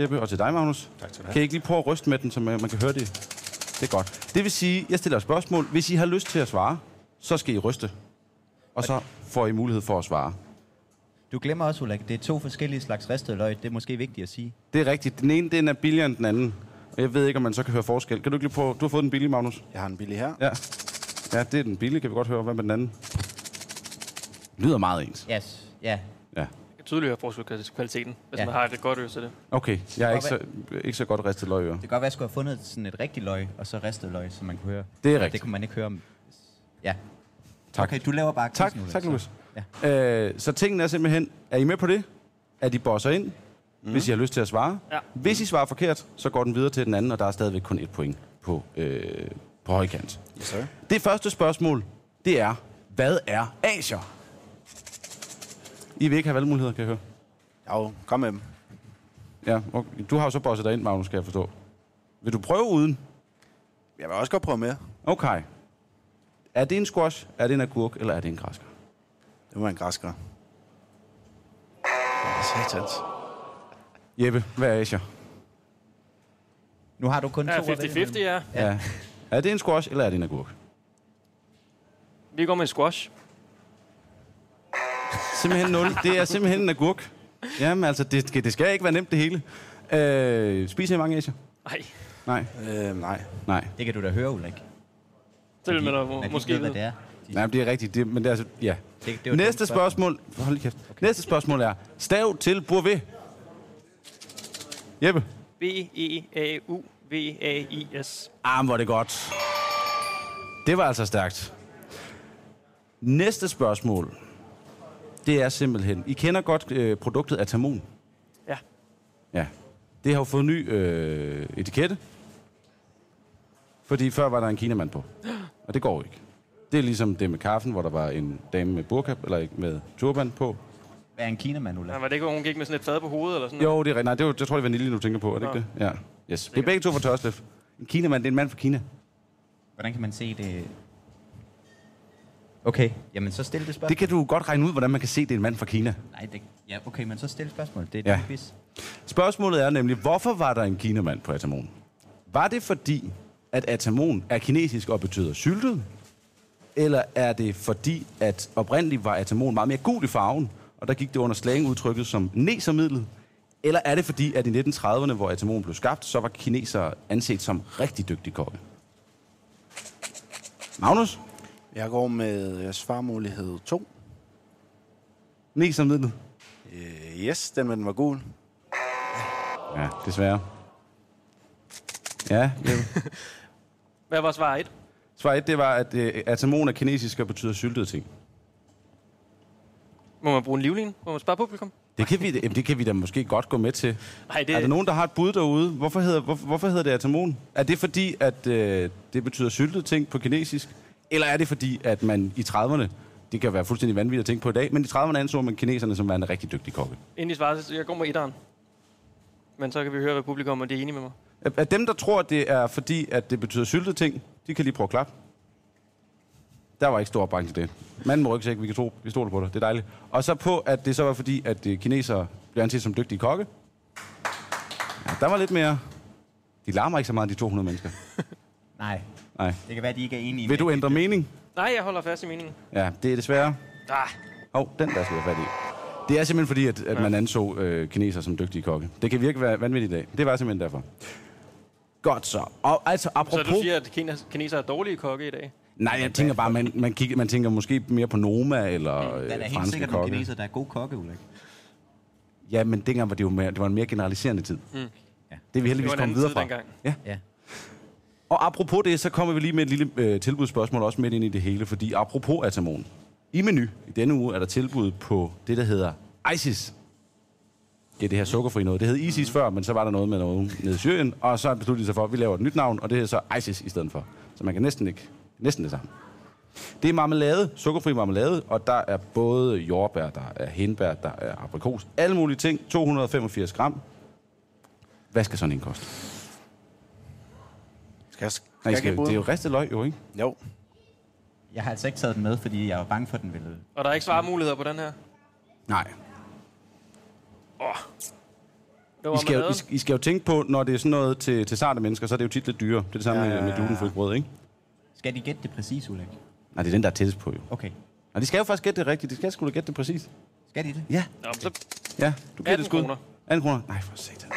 Jeppe, og til dig, Magnus. Tak til dig. Kan I ikke lige prøve at ryste med den, så man, man kan høre det? Det er godt. Det vil sige, jeg stiller et spørgsmål. Hvis I har lyst til at svare, så skal I ryste. Og så får I mulighed for at svare.
Du glemmer også, Ulrik, det er to forskellige slags ristede løg. Det er måske vigtigt at sige.
Det er rigtigt. Den ene, den er billigere end den anden. Og jeg ved ikke, om man så kan høre forskel. Kan du ikke lige prøve? Du har fået den billige, Magnus.
Jeg har en billig her.
Ja. Ja, det er den billige, kan vi godt høre. Hvad med den anden? Lyder meget ens.
Yes. Ja,
Ja.
tydeligere forskel på kvaliteten, hvis
Ja.
ja. man har et godt øl til det.
Okay, jeg er ikke så, ikke så godt ristet løg i ører.
Det kan godt være, at jeg skulle have fundet sådan et rigtigt løg, og så ristet løg, som man kunne høre.
Det er
Det
rigtigt.
kunne man ikke høre om. Ja.
Tak.
Okay, du laver bare quiz
Tak,
nu,
tak,
så.
Lukas.
Ja.
Øh, så tingene er simpelthen, er I med på det? At I bosser ind, mm. hvis I har lyst til at svare.
Ja.
Hvis I svarer forkert, så går den videre til den anden, og der er stadigvæk kun et point på, øh, på højkant.
Yes, sir.
Det første spørgsmål, det er, hvad er Asier? I vil ikke have valgmuligheder, kan jeg høre.
Jo, kom med dem.
Ja, okay. Du har jo så bosset dig ind, Magnus, skal jeg forstå. Vil du prøve uden?
Jeg vil også godt prøve med.
Okay. Er det en squash, er det en agurk, eller er det en græsker?
Det var en græsker. Ja, satans.
Jeppe, hvad er Asier?
Nu har du kun
Ja,
to. at vælge
50-50,
imellem.
ja.
Ja. Er det en squash, eller er det en agurk?
Vi går med en squash.
Simpelthen nul. Det er simpelthen en agurk. Jamen altså, det, skal- det skal ikke være nemt det hele. Øh, spiser I mange asier?
Nej,
Nej.
Øh, nej.
Nej.
Det kan du da høre, Ulrik.
det vil man da
Men
må-
de
måske
ved, hvad
vide.
det er. De,
Nej, men det er rigtigt. Det, men det er altså, ja.
det, det var et
Næste
dumt
spørgsmål. Hold lige kæft. Næste spørgsmål er, stav til Bourvet. Jeppe.
B-E-A-U-V-A-I-S.
Ah, men hvor er det godt. Det var altså stærkt. Næste spørgsmål. Det er simpelthen... I kender godt øh, produktet Atamon.
Ja.
Ja. Det har jo fået ny øh, etikette. Fordi før var der en kinamand på. Og det går jo ikke. Det er ligesom det med kaffen, hvor der var en dame med burka, eller ikke, med turban på.
Hvad er en kinamand, Ulrik?
Nej, var det ikke, hvor hun gik med sådan et fad på hovedet eller sådan
Jo, det er rigtigt. Nej, det er, jo- jeg tror, det er vanilje, du tænker på, er det ikke det? Ja. Yes. Det er begge to fra Tørslev. En kinamand, det er en mand fra Kina.
Hvordan kan man se det? Okay, jamen så stil det spørgsmål.
Det kan du godt regne ud, hvordan man kan se, det er en mand fra Kina.
Nej, det... Ja, okay, men så stil spørgsmålet. Det er
Ja.
ja. din quiz.
Spørgsmålet er nemlig, hvorfor var der en kinamand på Atamon? Var det fordi, at Atamon er kinesisk og betyder syltet? Eller er det fordi, at oprindeligt var Atamon meget mere gul i farven, og der gik det under slangudtrykket som nesermidlet? Eller er det fordi, at i 1930'erne, hvor Atamon blev skabt, så var kinesere anset som rigtig dygtige kokke? Magnus?
Jeg går med øh, svarmulighed 2.
Nesermidlet?
Øh, yes, den med den var gul.
Ja, desværre. Ja, Jeppe.
Hvad var svar 1?
Svar 1, det var, at øh, atamon er kinesisk og betyder syltede ting.
Må man bruge en livlin? Må man spare publikum?
Det kan, vi, jamen, det kan vi da måske godt gå med til.
Nej, det
Er der nogen, der har et bud derude? Hvorfor hedder, hvor, hvorfor hedder det atamon? Er det fordi, at øh, det betyder syltede ting på kinesisk? Eller er det fordi, at man i 30'erne, det kan være fuldstændig vanvittigt at tænke på i dag, men i 30'erne anså man kineserne som værende rigtig dygtige kokke.
Inden I svarer, så jeg går med etteren. Men så kan vi høre, hvad publikum er de er enige med mig.
Er- Er dem, der tror, at det er fordi, at det betyder syltede ting, de kan lige prøve at klappe. Der var ikke stor opbakning til det. Manden må rygsæk, vi kan tro, vi stoler på dig. Det er dejligt. Og så på, at det så var fordi, at øh, kinesere blev anset som dygtige kokke. Ja, der var lidt mere... De larmer ikke så meget, de 200 mennesker.
Nej,
Nej.
det kan være, at de ikke er enige.
Vil
med-
du ændre mening?
Nej, jeg holder fast i meningen.
Ja, det er desværre.
Ah,
Hov, den der skal jeg fat i. Det er simpelthen fordi, at, at man anså øh, kineser som dygtige kokke. Det kan virke være vanvittigt i dag. Det var simpelthen derfor. Godt så. Og altså,
så
apropos...
du siger, at kines- kinesere er dårlige kokke i dag?
Nej, jeg tænker bare, man, man, kigger, man tænker måske mere på Noma eller
Der er da
øh,
helt
franske
sikkert nogle
kokke.
kineser, der er gode kokke, Ulrik.
Ja, men dengang var det jo mere, det var en mere generaliserende tid. Mm.
Ja.
Det er vi
Det
heldigvis
var en
kommet
anden
videre
tid
fra.
dengang.
Ja.
Og apropos det, så kommer vi lige med et lille øh, tilbudsspørgsmål også midt ind i det hele, fordi apropos Atamon. I menu i denne uge er der tilbud på det, der hedder ISIS. Det er det her sukkerfri noget. Det hed ISIS mm. før, men så var der noget med noget nede i Syrien, og så besluttede de sig for, at vi laver et nyt navn, og det hedder så ISIS i stedet for. Så man kan næsten ikke, næsten det samme. Det er marmelade, sukkerfri marmelade, og der er både jordbær, der er hindbær, der er aprikos, alle mulige ting, 285 gram. Hvad skal sådan en koste?
Skal jeg, skal
Nej,
jeg
skal,
give bud?
det er jo ristet løg, jo ikke?
Jo.
Jeg har altså ikke taget den med, fordi jeg var bange for, at den ville...
Og der er ikke svarmuligheder på den her?
Nej.
Det var
I skal, jo, I,
marmeladen.
skal- I skal jo tænke på, når det er sådan noget til, til sarte mennesker, så er det jo tit lidt dyrere. Det er det samme ja, ja, ja. med glutenfri brød, ikke?
Skal de gætte det præcis, Ulrik?
Nej, det er den, der er tættest på, jo.
Okay.
Og de skal jo faktisk gætte det rigtigt. De skal sgu da gætte det præcis.
Skal de det?
Ja,
Nå, men så
ja. Du giver
18
det skud.
kroner.
18 kroner. Nej, for satan.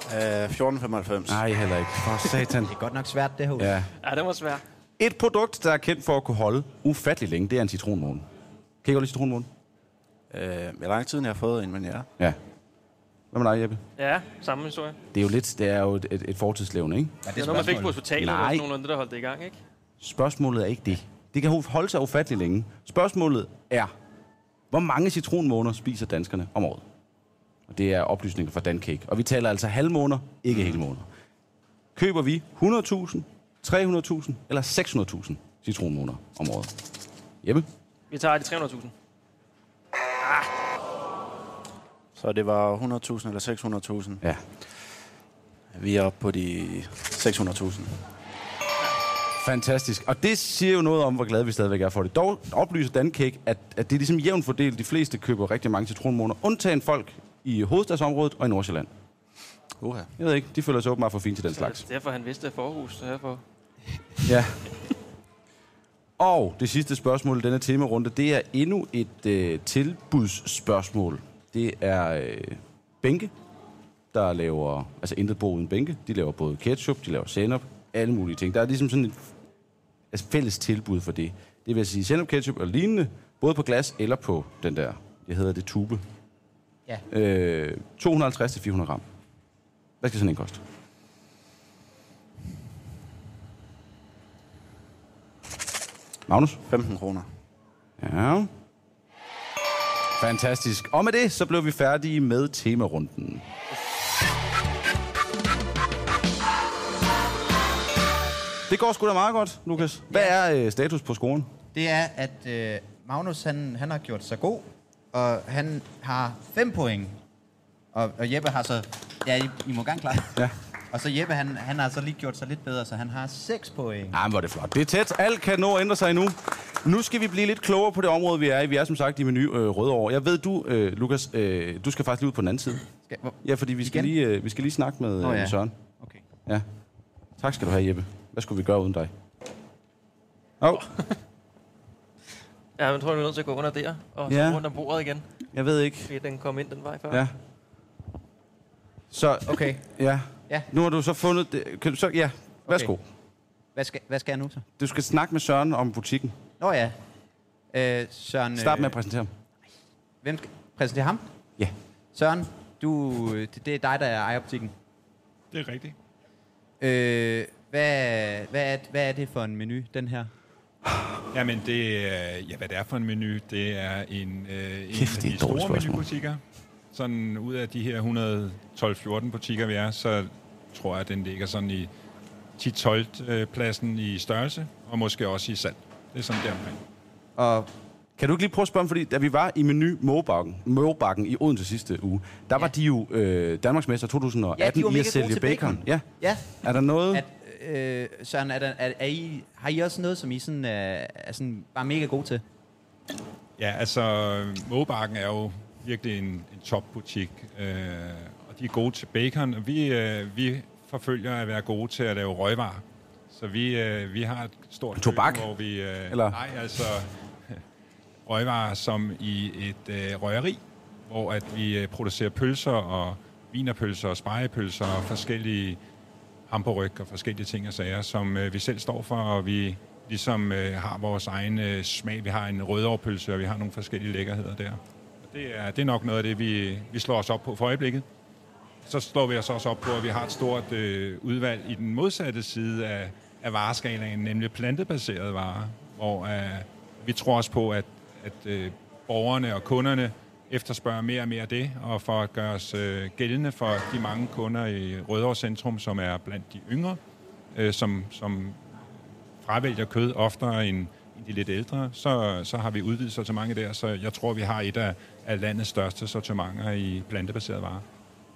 Øh, 1495.
Nej, heller ikke. For satan.
Det er godt nok svært, det her, Ulrik.
ja.
Ja, den var svær.
Et produkt, der er kendt for at kunne holde ufattelig længe, det er en citronmåne. Kan I godt lide citronmåne?
Øh, hvor lang tid jeg har fået en, men ja.
Hvad med dig, Jeppe?
Ja, samme historie.
Det er jo lidt, det er jo et, et, et fortidslevende, ikke?
Ja,
Det er noget, man fik på hospitalet,
Nej.
og sådan nogenlunde, der holdt det i gang, ikke?
Spørgsmålet er ikke det. Det kan holde sig ufattelig længe. Spørgsmålet er, hvor mange citronmåner spiser danskerne om året? Og det er oplysninger fra Dancake. Og vi taler altså halvmåner, ikke hele måneder. Køber vi 100.000, 300.000 eller 600.000 citronmåner om året? Jeppe?
Vi tager de 300.000.
Så det var 100.000 eller 600.000.
Ja.
Vi er oppe på de 600.000.
Fantastisk. Og det siger jo noget om, hvor glade vi stadigvæk er for det. Dog oplyser Dancake, at, at det er ligesom jævnt fordelt. De fleste køber rigtig mange citronmåner, undtagen folk i hovedstadsområdet og i Nordsjælland.
Uha.
Jeg ved ikke, de føler sig åbenbart for fint til den slags.
Så derfor han vidste at forhus, så derfor...
Ja. Og det sidste spørgsmål i denne temarunde, det er endnu et øh, tilbudsspørgsmål. Det er øh, Bænke, der laver, altså intet brug uden Bænke, de laver både ketchup, de laver senap, alle mulige ting. Der er ligesom sådan et altså fælles tilbud for det. Det vil sige senap, ketchup og lignende, både på glas eller på den der, jeg hedder det tube.
Ja.
Øh, 250-400 gram. Hvad skal sådan en koste? Magnus?
15 kroner.
Ja. Fantastisk. Og med det, så blev vi færdige med temarunden. Det går sgu da meget godt, Lukas. Hvad er øh, status på skolen?
Det er, at øh, Magnus han, han har gjort sig god, og han har fem point. Og, og Jeppe har så... Ja, I, I må gerne klare
Ja.
Og så Jeppe, han, han har så lige gjort sig lidt bedre, så han har 6 point.
Ej, men hvor er det flot. Det er tæt. Alt kan nå at ændre sig endnu. Nu skal vi blive lidt klogere på det område, vi er i. Vi er som sagt i menu øh, Rødovre. Jeg ved, du, øh, Lukas, øh, du skal faktisk lige ud på den anden side.
Skal, hvor,
Ja, fordi vi skal,
Igen?
lige, øh, vi skal lige snakke med,
Nå
øh,
ja.
med Søren.
okay.
Ja. Tak skal du have, Jeppe. Hvad skulle vi gøre uden dig? Åh, oh,
Ja, men tror, vi er nødt til at gå under der, og så
Ja.
rundt om bordet igen,
jeg ved ikke.
fordi den kom ind den vej før.
Ja. Så,
Okay,
ja.
Ja.
Nu har du så fundet... Det. Kan du så, ja, værsgo. Okay.
hvad skal, hvad skal jeg nu så?
Du skal snakke med Søren om butikken.
Nå ja. Øh, Søren...
Start
øh,
med at præsentere ham.
Hvem skal præsentere ham?
Ja.
Søren, du, øh, det, det er dig, der er ejer butikken.
Det er rigtigt.
Øh, hvad, hvad, er, hvad er det for en menu, den her?
Jamen, det, er- ja, hvad det er for en menu, det er en, øh, en
Kæft,
af
det er
de
et dårligt
store
spørgsmål.
menubutikker. Sådan ud af de her 112-14 butikker, vi er, så tror jeg, at den ligger sådan i 10-12-pladsen i størrelse, og måske også i salg. Det er sådan deromkring.
Og
Kan du ikke lige prøve at spørge om, fordi da vi var i menu Mågebakken, Mågebakken i Odense sidste uge, der ja. var de jo øh, Danmarksmester 2018
var
i
mega
at
gode
sælge
til
bacon.
bacon.
Ja.
ja,
Er der noget?
at, øh, Søren, er der, er, er I, har I også noget, som I sådan, øh, er sådan bare mega god til?
Ja, altså Mågebakken er jo virkelig en, en topbutik, øh, og de er gode til bacon, og vi, øh, vi forfølger at være gode til at lave røgvarer. Så vi, øh, vi har et stort
Tobak?
køkken, hvor vi... Øh,
Eller?
Nej, altså røgvarer som i et øh, røgeri, hvor at vi øh, producerer pølser og vinerpølser og spejepølser og forskellige hamburg og forskellige ting og sager, som øh, vi selv står for, og vi ligesom øh, har vores egen øh, smag. Vi har en rødovpølse, og vi har nogle forskellige lækkerheder der. Og det, er, det er nok noget af det, vi, vi slår os op på for øjeblikket. Så slår vi os også op på, at vi har et stort øh, udvalg i den modsatte side af, af vareskalaen, nemlig plantebaserede varer, hvor øh, vi tror også på, at, at øh, borgerne og kunderne efterspørger mere og mere af det, og for at gøre os øh, gældende for de mange kunder i Rødovre Centrum, som er blandt de yngre, øh, som, som fravælger kød oftere end end de lidt ældre, så, så har vi udvidet sortimenter der, så jeg tror, vi har et af, af landets største sortimenter i plantebaserede varer.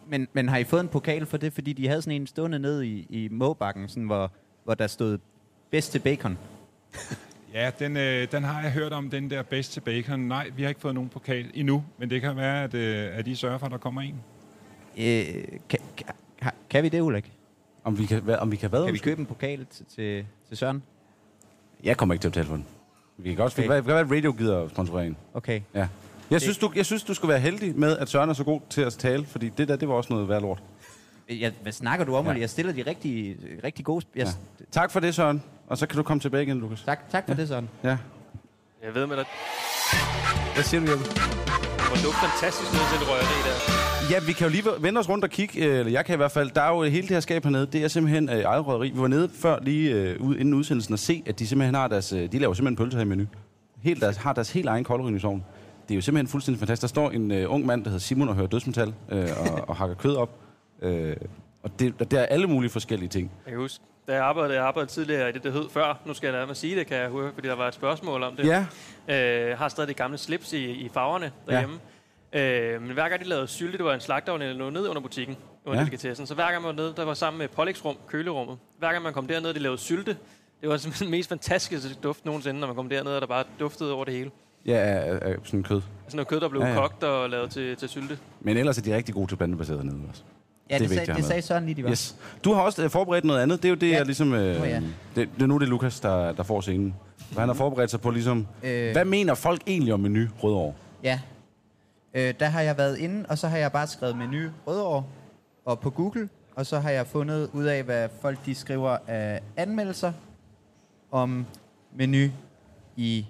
Men, men har I fået en pokal for det? Fordi de havde sådan en stående ned i, i Måbakken, sådan, hvor, hvor der stod bedste bacon.
Ja, den, øh, den har jeg hørt om, den der bedste bacon. Nej, vi har ikke fået nogen pokal endnu, men det kan være, at, øh, at I sørger for, at der kommer en.
Øh, kan, kan, har- kan vi det, Ulrik?
Om vi kan, hvad, om vi kan hvad?
Kan vi købe en pokal til, til, til Søren?
Jeg kommer ikke til at betale for den. Vi kan godt
Okay.
okay. hvad, hvad radio gider at sponsorere en.
Okay.
Ja. Jeg synes, du, jeg synes, du skal være heldig med, at Søren er så god til at tale, fordi det der, det var også noget værd lort.
Jeg, hvad snakker du om,
Ja.
ja. Jeg stiller de rigtig, rigtig gode... sp- Jeg,
Ja.
ja.
Tak for det, Søren. Og så kan du komme tilbage igen, Lukas.
tak, tak for ja. det, Søren.
Ja.
Jeg ved med dig.
Hvad siger du, Jeppe?
Hvor lugter fantastisk ned til det røgeri der.
Ja, vi kan jo lige vende os rundt og kigge, øh, eller jeg kan i hvert fald. Der er jo hele det her skab hernede, det er simpelthen øh, eget røderi. Vi var nede før lige øh, ud, inden udsendelsen og se, at de simpelthen har deres, øh, de laver simpelthen pølser her i menu. Helt deres, har deres helt egen koldrygningsovn. Det er jo simpelthen fuldstændig fantastisk. Der står en øh, ung mand, der hedder Simon og hører dødsmetal øh, og, og hakker kød op. Øh, og det, der, der er alle mulige forskellige ting.
Jeg kan huske, da jeg arbejdede, jeg arbejdede tidligere i det, der hed før. Nu skal jeg lade mig sige det, kan jeg høre, fordi der var et spørgsmål om det.
Ja.
Øh, jeg har stadig det gamle slips i, i farverne derhjemme. Øh, men hver gang de lavede sylte, det var en slagtavn eller noget ned under butikken, under
Ja.
ja. delikatessen. Så hver gang man var nede, der var sammen med Polleksrum, kølerummet. Hver gang man kom derned, de lavede sylte. Det var simpelthen den mest fantastiske duft nogensinde, når man kom derned, og der bare duftede over det hele.
Ja, af, af, af sådan kød.
Sådan noget kød, der blev
Ja,
ja,
ja.
ja. kogt og lavet til, til sylte.
Men ellers er de rigtig gode til plantebaseret hernede også.
Ja, det, det,
vigtigt at
sag,
have
det
med.
sagde Søren lige, de var.
Yes. Du har også øh, forberedt noget andet. Det er jo det, ja. jeg ligesom... Øh,
Nå ja.
det, det, er nu det er Lukas, der, der får scenen. For han har forberedt sig på ligesom... Øh.
Øh.
Hvad mener folk egentlig om menu Rødovre?
Ja. Øh, der har jeg været inde, og så har jeg bare skrevet menu Rødovre og på Google, og så har jeg fundet ud af, hvad folk de skriver af anmeldelser om menu i,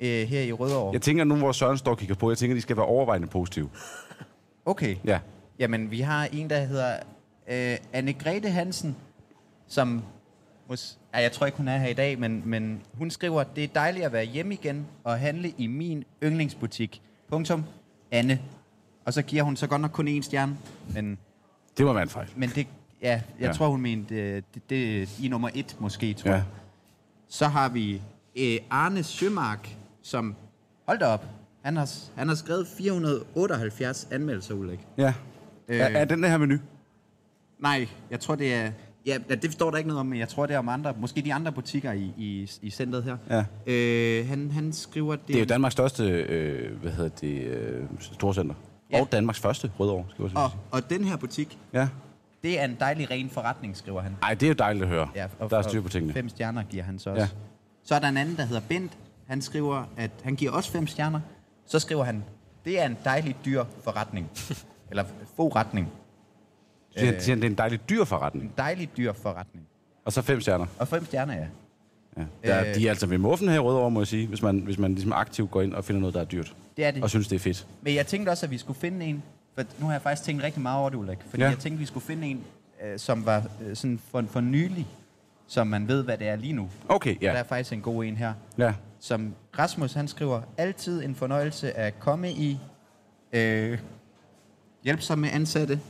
øh, her i Rødovre.
Jeg tænker nu, hvor Søren står og kigger på, jeg tænker, de skal være overvejende positive.
Okay.
Ja.
Jamen, vi har en, der hedder øh, Anne-Grethe Hansen, som... Mås- Ej, jeg tror ikke, hun er her i dag, men, men hun skriver, det er dejligt at være hjemme igen og handle i min yndlingsbutik. Punktum. Anne. Og så giver hun så godt nok kun én stjerne, men,
Det må være en fejl.
men det, ja, jeg
Ja.
ja. tror, hun mente øh, det, det, i nummer et måske, tror
Ja.
jeg. Så har vi øh, Arne Sømark, som... Hold da op. Han har, s- han har skrevet 478 anmeldelser, Ulrik.
Ja. Øh. Er, er, den der her menu?
Nej, jeg tror, det er... Ja, ja, det står der ikke noget om, men jeg tror, det er om andre. Måske de andre butikker i, i, i centret her.
Ja.
Øh, han, han skriver, det...
Det er jo Danmarks største, øh, hvad hedder det, øh, storcenter. Ja.
Ja.
Og Danmarks første Rødovre, skal jeg også lige
og,
sige.
og den her butik,
Ja.
det er en dejlig ren forretning, skriver han.
Ej, det er jo dejligt at høre. Ja,
Ja, og,
der er
og
styr på tingene.
Fem stjerner giver han så også.
Ja.
Ja. Så er der en anden, der hedder Bent. Han skriver, at han giver også fem stjerner. Så skriver han, det er en dejlig dyr forretning. Eller forretning.
Det,
øh.
er- det er en dejlig dyr forretning.
En dejlig dyr forretning.
Og så fem stjerner.
Og fem stjerner, ja.
Ja. Der,
Øh.
De er altså ved muffen her i Rødovre, må jeg sige, hvis man, hvis man ligesom aktivt går ind og finder noget, der er dyrt.
Det er det.
Og synes, det er fedt.
Men jeg tænkte også, at vi skulle finde en, for nu har jeg faktisk tænkt rigtig meget over det, Ulrik, fordi
Ja.
ja. jeg tænkte, at vi skulle finde en, øh, som var øh, sådan for, for nylig, som man ved, hvad det er lige nu.
Okay,
Der
ja.
er faktisk en god en her,
ja.
som Rasmus, han skriver, altid en fornøjelse at komme i, øh, hjælp sig med ansatte,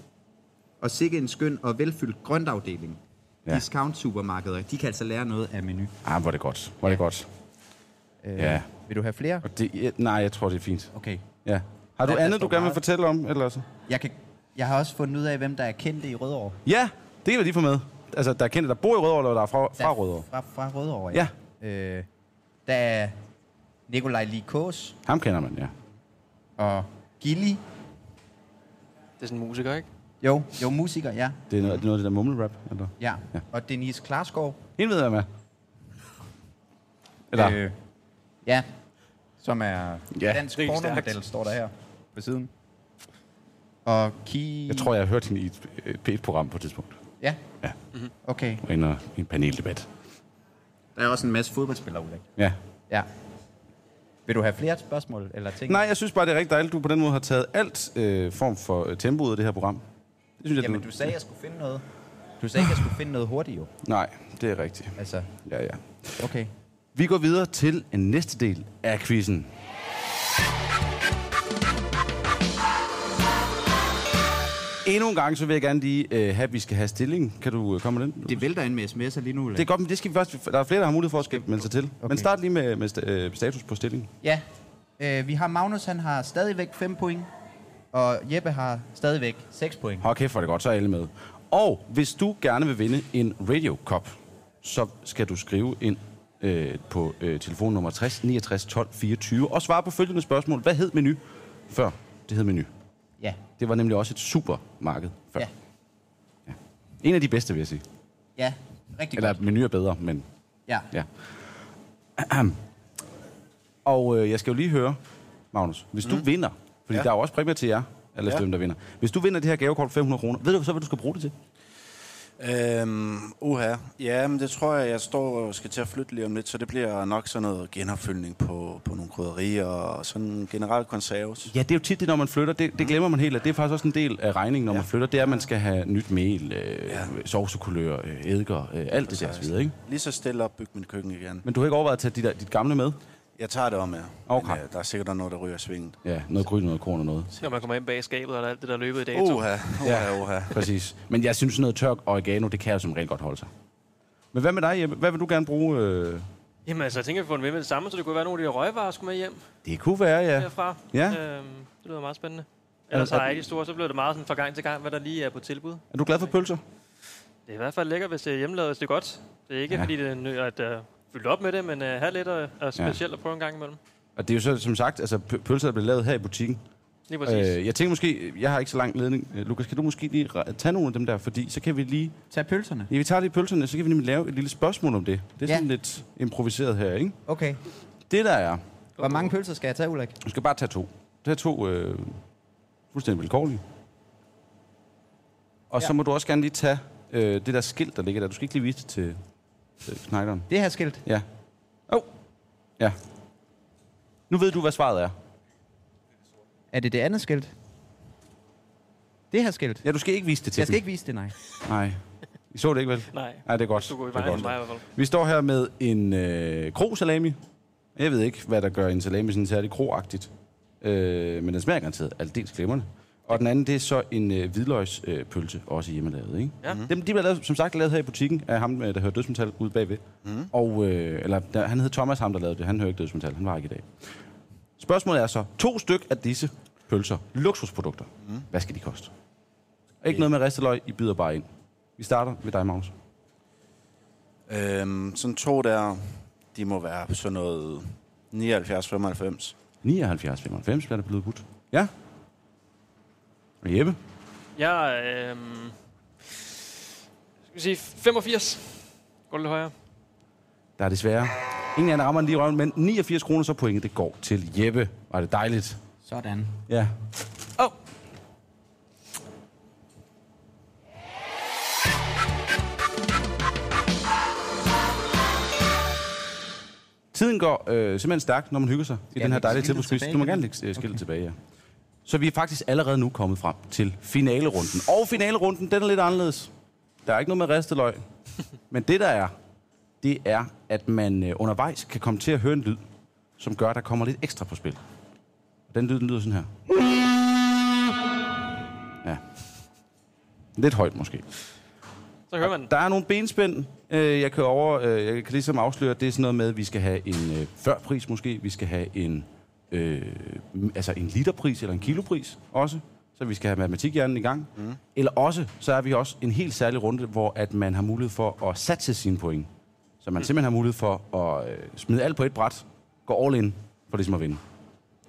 og sikke en skøn og velfyldt grøntafdeling.
Ja.
Ja. Discount supermarkeder, de kan altså lære noget af menu.
Ah, hvor er det godt. Hvor er det godt.
Øh,
Ja.
Vil du have flere?
Og det, ja, nej, jeg tror, det er fint.
Okay.
Ja. Har du
Ja, der
andet, du
står
gerne vil
meget.
fortælle om? Eller så?
Jeg, kan, jeg har også fundet ud af, hvem der er kendte i Rødovre.
Ja, det kan vi lige få med. Altså, der er kendte, der bor i Rødovre, eller der er fra, fra Rødovre.
Fra, fra Rødovre, ja. Øh, der er Nikolaj Likås
Ham kender man, ja.
og Gilly.
Det er sådan en musiker, ikke?
Jo, jo, musiker, ja.
Det er noget, det er noget af det der mumlerap, eller?
ja.
Ja.
ja. Og Denise Klarskov.
En ved jeg med. Eller, øh.
Øh, ja. Som er
Ja.
ja. dansk
Rigtig
pornomodel,
stærkt.
står der her på siden. Og Ki...
jeg tror, jeg har hørt hende i et, et P1-program på et tidspunkt.
Ja.
Ja.
Okay.
Hun var inde og- i en paneldebat.
Der er også en masse fodboldspillere, Ulrik.
Ja.
Ja. Vil du have flere spørgsmål eller ting?
Nej, jeg synes bare, det er rigtig dejligt, du på den måde har taget alt øh, form for øh, tempo ud af det her program. Det synes jeg,
Jamen, du sagde, jeg skulle finde noget. Du sagde, jeg skulle finde noget hurtigt, jo.
Nej, det er rigtigt.
Altså,
Ja, ja.
okay.
Vi går videre til en næste del af quizzen. Endnu en gang, så vil jeg gerne lige øh, have, at vi skal have stilling. Kan du øh, komme med den?
Det vælter ind med sms'er lige nu, Ulrik.
Det er godt, men det skal vi først, der er flere, der har mulighed for at skal melde sig til. Okay.
Okay.
Men start lige med, med sta- øh, status på stillingen.
Ja. Øh, vi har Magnus, han har stadigvæk 5 point. Og Jeppe har stadigvæk 6 point.
Hold kæft, hvor er det godt, så er alle med. Og hvis du gerne vil vinde en Radio Cup, så skal du skrive ind øh, på øh, telefonnummer 60 69 12 24 og svare på følgende spørgsmål. Hvad hed menu før? Det hed menu.
Ja.
Det var nemlig også et supermarked før. Ja.
Ja.
En af de bedste, vil jeg sige.
Ja. Rigtig
Eller
godt.
menu er bedre, men
Ja.
ja. Og øh, jeg skal jo lige høre, Magnus, hvis mm. du vinder, fordi ja. der er jo også præmier til jer, eller ja. dem, der vinder. Hvis du vinder det her gavekort på 500 kroner, ved du så, hvad du skal bruge det til?
Øhm, uha. Ja, men det tror jeg, jeg står og skal til at flytte lige om lidt, så det bliver nok sådan noget genopfyldning på, på nogle krydderier og sådan generelt konserves.
Ja, det er jo tit det, når man flytter. Det, det glemmer man helt, og det er faktisk også en del af regningen, når ja. man flytter. Det er, at man skal have nyt mel, øh, ja. sovsekulør, øh, eddike, øh, alt det der og så videre, ikke?
Lige så stille op bygge mit køkken igen.
Men du har ikke overvejet at tage dit, dit gamle med?
Jeg tager det om med.
Okay.
Men, øh, der er sikkert noget, der ryger i svingen.
Ja, noget gryn, noget korn og noget.
Når man kommer ind bag skabet, og der er alt det, der er løbet i dag.
Uha, uha,
Ja.
uha.
Præcis. Men jeg synes, noget tørk oregano, det kan jo som regel godt holde sig. Men hvad med dig, Jeppe? Hvad vil du gerne bruge? Øh?
Jamen altså, jeg tænker, at vi får den med med det samme, så det kunne være nogle af de der røgvarer, skulle med hjem
Det kunne være, ja.
herfra.
Ja.
Øhm, det lyder meget spændende. Ellers
er
har jeg
den-
ikke de store, så bliver det meget sådan fra gang til gang, hvad der lige er på tilbud.
Er du glad for pølser?
Det er i hvert fald lækkert, hvis det er hjemmelavet, hvis det er godt. Det er ikke,
Ja.
ja. fordi det er nø- at uh, fylde op med det, men uh, have lidt og, og specielt at prøve en gang imellem.
Og det er jo så, som sagt, altså p- pølser, der bliver lavet her i butikken.
Lige præcis. Øh,
Øh, jeg tænker måske, jeg har ikke så lang ledning. Øh, Lukas, kan du måske lige re- tage nogle af dem der? Fordi så kan vi lige,
Tag pølserne.
ja, vi tager lige pølserne, så kan vi nemlig lave et lille spørgsmål om det. Det er
Ja.
sådan lidt improviseret her, ikke?
Okay.
Det der er,
Hvor mange pølser skal jeg tage, Ulrik?
du skal bare tage to. Tag to øh, fuldstændig vilkårlige. Og ja. så må du også gerne lige tage øh, det der skilt, der ligger der. Du skal ikke lige vise det til, til knejderen.
Det her skilt.
Ja. Åh. Oh. Ja. Nu ved du, hvad svaret er.
Er det det andet skilt? Det her skilt.
Ja, du skal ikke vise det til
Jeg skal
dem.
ikke vise det, nej.
Nej. I så det ikke, vel?
Nej,
Nej, det er godt.
du går i
Det er
vejen
godt.
med mig i hvert fald.
Vi står her med en øh, krosalami. Jeg ved ikke, hvad der gør en salami sådan særlig kroagtigt. Øh, men den smager garanteret aldeles glimrende. Og den anden, det er så en øh, hvidløgspølse, øh, pølse, også hjemmelavet, ikke?
Ja.
Dem, de bliver lavet, som sagt lavet her i butikken af ham, øh, der hører dødsmetal ude bagved. Mm. Og, øh, eller der, han hed Thomas, ham der lavede det. Han hører ikke dødsmetal, han var ikke i dag. Spørgsmålet er så, to styk af disse pølser, luksusprodukter, mm. hvad skal de koste? Ikke noget med risteløg, I byder bare ind. Vi starter med dig, Magnus.
Øhm, sådan to der, de må være på sådan noget 79-95.
79, 95 bliver der blevet budt. Ja. Og Jeppe?
Jeg er, øhm, skal vi sige 85. Går det lidt højere?
Der er desværre ingen anden rammer end lige i røven, men 89 kroner, så pointet det går til Jeppe. Var det dejligt?
Sådan.
Ja.
Åh! Oh.
Tiden går øh, simpelthen stærkt, når man hygger sig i den her
lægge
dejlige
skiltet
tilbudskvist.
tilbage
Du må
igen?
gerne lægge øh, skiltet okay. tilbage, ja. Så vi er faktisk allerede nu kommet frem til finalerunden. Og finalerunden, den er lidt anderledes. Der er ikke noget med risteløg. Men det der er, det er, at man øh, undervejs kan komme til at høre en lyd, som gør, at der kommer lidt ekstra på spil. Og den lyd, den lyder sådan her. Ja. Lidt højt måske.
Så hører man den.
Der er nogle benspænd, øh, jeg kan over, øh, jeg kan ligesom afsløre, at det er sådan noget med, at vi skal have en øh, førpris måske, vi skal have en, øh, m- altså en literpris eller en kilopris også, så vi skal have matematikhjernen i gang. Mm. Eller også, så er vi også en helt særlig runde, hvor at man har mulighed for at satse sine point. Så man simpelthen har mulighed for at øh, smide alt på et bræt, gå all in for ligesom at vinde.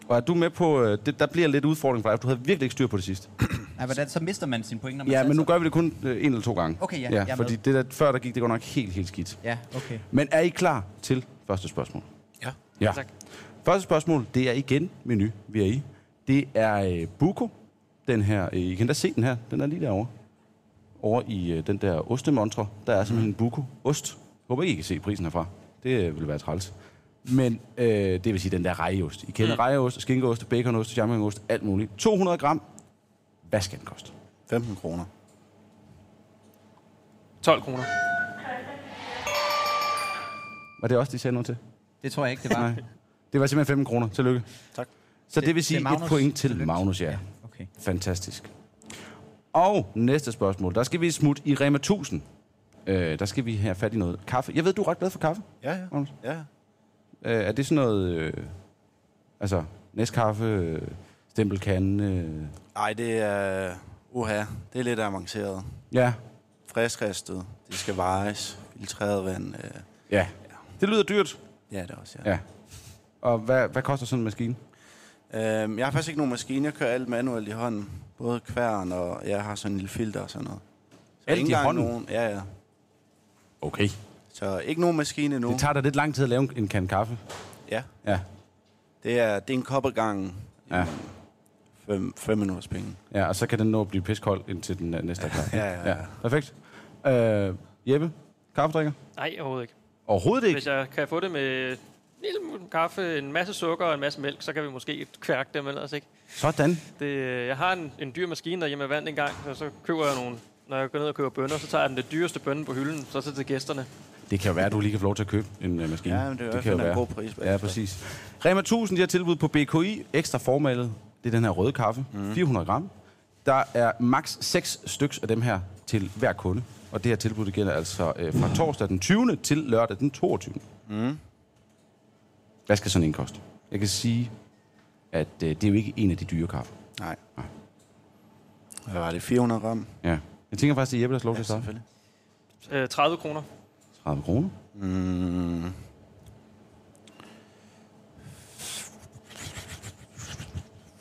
Og er du med på, øh, det, der bliver lidt udfordring for dig, for du havde virkelig ikke styr på det sidste.
Nej, hvordan, så mister man sine point, når man
Ja,
sætter
men nu
sig-
gør vi det kun øh, en eller to gange.
altså- Okay, ja, jeg
ja
er
fordi
med.
det der før, der gik det godt nok helt, helt skidt.
Ja, okay.
Men er I klar til første spørgsmål?
Ja.
ja.
Tak.
Første spørgsmål, det er igen menu, vi er i. Det er øh, Buko, den her. Øh, I kan da se den her, den er lige derovre. Over i øh, den der ostemontre, der er simpelthen en Buko-ost. Håber ikke, I kan se prisen herfra. Det øh, vil være træls. Men øh, det vil sige den der rejeost. I kender mm. rejeost, skinkeost, baconost, jammeost, alt muligt. 200 gram. Hvad skal den koste?
15 kroner.
12 kroner.
Var det også, de sagde noget til?
Det tror jeg ikke, det var.
Nej. Det var simpelthen 15 kroner. Tillykke.
Tak.
Så det,
Det-
vil sige
det er
et
Magnus.
point til
Tillykke.
Magnus, ja. ja.
Okay.
Fantastisk. Og næste spørgsmål. Der skal vi smutte i Rema 1000. Øh, der skal vi have fat i noget kaffe. Jeg ved, du er ret glad for kaffe,
Ja, ja.
Magnus.
ja.
Øh, er det sådan noget... Øh, altså, næstkaffe, øh, stempelkande... Øh,
Ej, det er... Uha, det er lidt avanceret.
ja,
Friskristet, det skal vejes, filtreret vand. Øh.
ja. Det lyder dyrt.
Ja, det er også, ja.
Ja. Og hvad, hvad koster sådan en maskine?
ja. Øhm, jeg har faktisk ikke nogen maskine, jeg kører alt manuelt i hånden. Både kværn og jeg har sådan en lille filter og sådan noget. Så
Alt
ikke
i
engang
hånden?
Nogen, ja, ja.
Okay.
Så ikke nogen maskine nu.
Det tager da lidt lang tid at lave en- en kan kaffe.
Ja,
Ja.
det er, det er en kop ad gangen.
Ja.
Fem, fem minutters penge.
Ja, og så kan den nå at blive piskold, indtil den øh, næste er klar.
Ja, ja, ja.
Perfekt. Øh, Jeppe, kaffedrikker?
Nej, overhovedet ikke.
Overhovedet ikke.
Hvis jeg kan få det med en lille smule kaffe, en masse sukker og en masse mælk, så kan vi måske kværke dem ellers, ikke?
Sådan.
Det, øh, jeg har en, en dyr maskine derhjemme, jeg vandt engang, og så køber jeg nogle... Når jeg går ned og køber bønner, så tager jeg den det dyreste bønne på hylden, så til til gæsterne.
Det kan jo være, at du lige kan få lov til at købe en uh, maskine.
Ja, men det er i hvert
kan
fald
jo
en
være.
god pris
Ja,
bagefter.
præcis. Rema 1000, de har tilbud på BKI. Ekstra formalet. Det er den her røde kaffe.
Mhm.
Mm. 400 gram. Der er maks 6 styks af dem her til hver kunde. Og det her tilbud, det gælder altså øh, fra torsdag den 20. til lørdag den 22. Mm.
Mhm.
Hvad skal sådan en koste? Jeg kan sige, at øh, det er jo ikke en af de dyre kaffe.
Nej. Hvad var det? 400 gram?
Ja. Jeg tænker faktisk, at Jeppe, der slår
Ja,
til at starte.
selvfølgelig.
Øh, 30 kroner.
30 kroner.
Mm.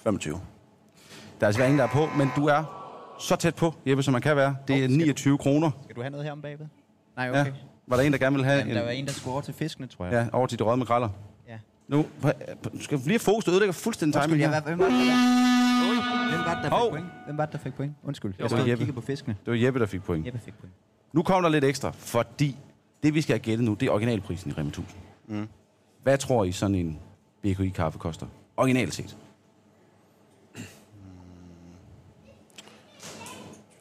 25.
Der er altså ingen, der er på, men du er så tæt på, Jeppe, som man kan være. Det er 29 kroner.
Skal du have noget her om bagved? Nej,
Ja.
okay. Ja.
Var der en, der gerne ville have
Jamen, der var
en...
en, der skulle over til fiskene, tror jeg.
Ja, over til de røde makraller.
Ja.
Nu, p- p- du skal lige have fokus, du ødelægger fuldstændig
Undskyld,
timingen
jeg,
her.
var- hvem var det, der, hvem var det, der fik
Hov.
point? Hvem var det, der fik point? Undskyld, jeg
var
stod og
Jeppe.
kiggede på fiskene.
Det var Jeppe, der fik point.
Jeppe fik point.
Nu kommer der lidt ekstra, fordi det, vi skal have gættet nu, det er originalprisen i Rema 1000. Mm. Hvad tror I, sådan en BKI-kaffe koster? Originalt set.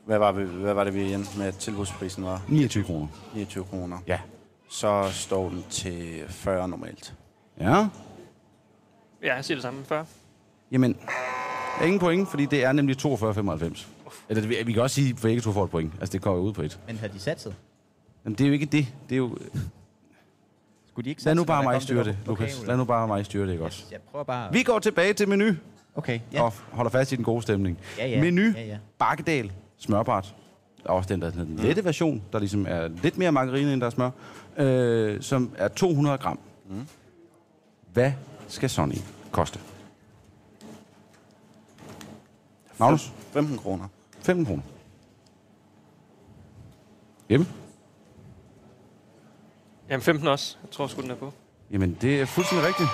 Hvad var, vi, hvad var det, vi endte med, at tilbudsprisen var?
29 kroner.
29 kroner.
Ja.
Så står den til 40 normalt.
Ja.
Ja, jeg siger det samme. 40.
Jamen, der er ingen point, fordi det er nemlig 42,95. Eller det- vi- vi kan også sige, at begge to får et point. Altså, det kommer jo ud på et.
Men havde de satset?
Jamen, det er jo ikke det. Det er jo...
Skulle de ikke
Lad
satse,
nu
når
bare
der
mig
kom
styre
der
det,
vokal?
Lukas. Lad nu bare mig styre det, ikke også?
Jeg prøver bare...
Vi går tilbage til menu.
Okay, ja.
ja. og holder fast i den gode stemning.
Ja, ja.
Menu,
Ja, Mm. ja.
bakkedal, smørbart. Der er også den, der er sådan den lette version, der ligesom er lidt mere margarine, end der er smør, øh, som er 200 gram. Mm. Hvad skal sådan en koste? Magnus,
15 kroner.
15 kroner. Jeppe?
Jamen 15 også. Jeg tror sgu, den er på.
Jamen, det er fuldstændig rigtigt.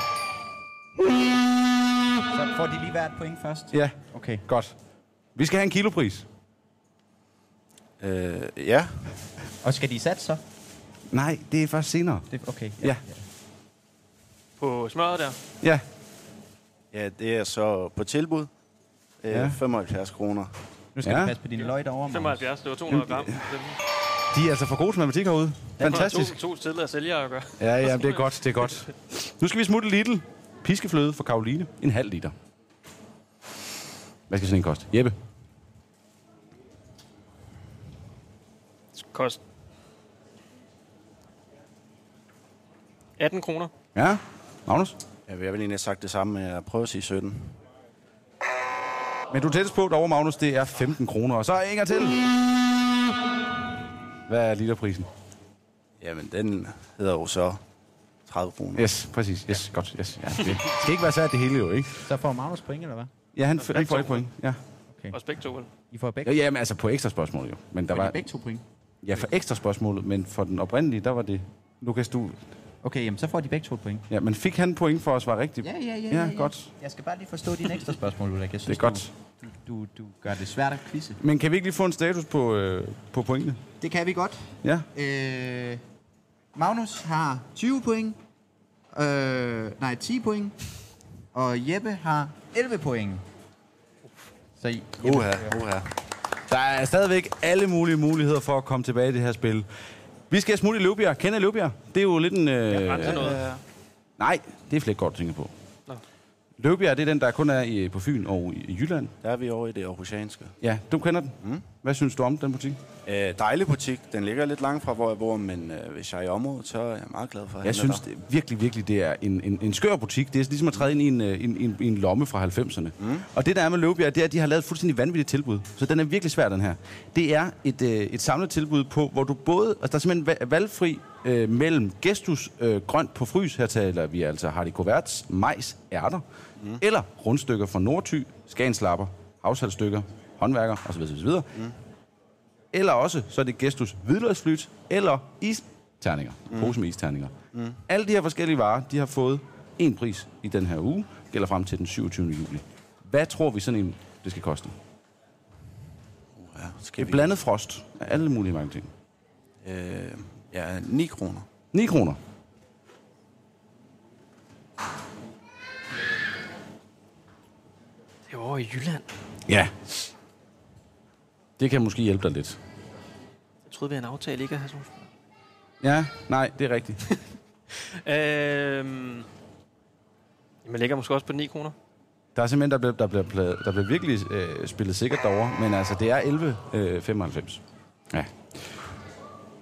Så får de lige hvert point først.
Ja,
Okay.
godt. Vi skal have en kilopris.
Øh, ja.
Og skal de satse så?
Nej, det er først senere.
Det, okay.
Ja.
På smøret der.
Ja,
Ja, det er så på tilbud. Øh,
Ja.
ja. 75 kroner.
Nu skal
Ja.
ja. du passe på dine løg derovre, Magnus.
75, det var 200 gram. Det er
de er altså for gode til matematik herude. Fantastisk.
To, to tidligere sælgere at gøre.
Ja, ja, det er godt, det er godt. Nu skal vi smutte Lidl. Piskefløde fra Karoline. En halv liter. Hvad skal sådan en koste? Jeppe?
Kost. 18 kroner.
Ja? Magnus?
Jeg vil jeg vil egentlig have sagt det samme, men jeg prøver at sige 17.
Men du er tættest på derovre, Magnus. Det er 15 kroner. Og så er Inger til. Hvad er literprisen?
Jamen, den hedder jo så 30 kroner.
Yes, præcis. Yes, ja. godt. Yes. Ja, det skal ikke være svært det hele jo, ikke?
Så får Magnus point, eller hvad?
Ja, han, f- han får et point. Ja.
Også begge to, vel?
I får begge,
Ja, Jamen altså på ekstra spørgsmål jo. Men der
får
var,
de begge to point.
ja, for ekstra spørgsmålet, men for den oprindelige, der var det... Lukas, du...
Okay, jamen, så får de begge to point.
Ja, men fik han point for at svare rigtigt?
Ja, ja, ja.
Ja, godt.
Jeg skal bare lige forstå dine ekstra spørgsmål, Ulrik. Jeg
Det er
synes,
godt.
Du, du, du gør det svært at quizze.
Men kan vi ikke lige få en status på, øh, på pointene?
Det kan vi godt.
Ja.
Øh, Magnus har 20 point. Øh, nej, 10 point. Og Jeppe har 11 point. Så I-
Uha, uha.
Der er stadigvæk alle mulige muligheder for at komme tilbage i det her spil. Vi skal smutte i Løvbjerg. Kender I Løvbjerg? Det er jo lidt en... Øh...
Rense noget.
Nej, det er Flækgaard, du tænker på.
Nå.
Løvbjerg, det er den, der kun er i, på Fyn og i, i Jylland.
Der er vi over i det aarhusianske.
Ja, du kender den. Mm. Hvad synes du om den butik?
Øh, dejlig butik. Den ligger lidt langt fra, hvor jeg bor, men øh, hvis jeg er i området, så er jeg meget glad for at
Jeg
handle
synes
der.
det, virkelig, virkelig, det er en, en, en skør butik. Det er ligesom at træde ind i en, øh, en, en, en lomme fra 90'erne. Mm. Og det, der er med Løvbjerg, det er, at de har lavet et fuldstændig vanvittigt tilbud. Så den er virkelig svær, den her. Det er et, øh, et samlet tilbud på, hvor du både... Altså, der er simpelthen va- valgfri øh, mellem gestus, øh, grønt på frys, her taler vi altså Hardy Koverts, majs, ærter, mm. eller rundstykker fra Nordty, Skanslapper, havsaltstykker, håndværker osv. osv. Mm. Eller også, så er det gestus hvidløgsflyt, eller isterninger. Mm. Pose med isterninger. Mm. Alle de her forskellige varer, de har fået en pris i den her uge, gælder frem til den 27. juli. Hvad tror vi sådan en, det skal koste?
Ja, skal
Det er
vi...
blandet frost af alle mulige mange ting.
Øh, ja, 9 kroner.
9 kroner.
Det var over i Jylland.
Ja. Det kan måske hjælpe dig lidt.
Jeg troede, vi havde en aftale ikke at have sådan nogle
Ja, nej, det er rigtigt.
Øhm, man ligger måske også på 9 kroner.
Der er simpelthen, der bliver, der bliver, pla- der bliver virkelig øh, spillet sikkert derovre, men altså, det er 11.95. Øh, 95. ja.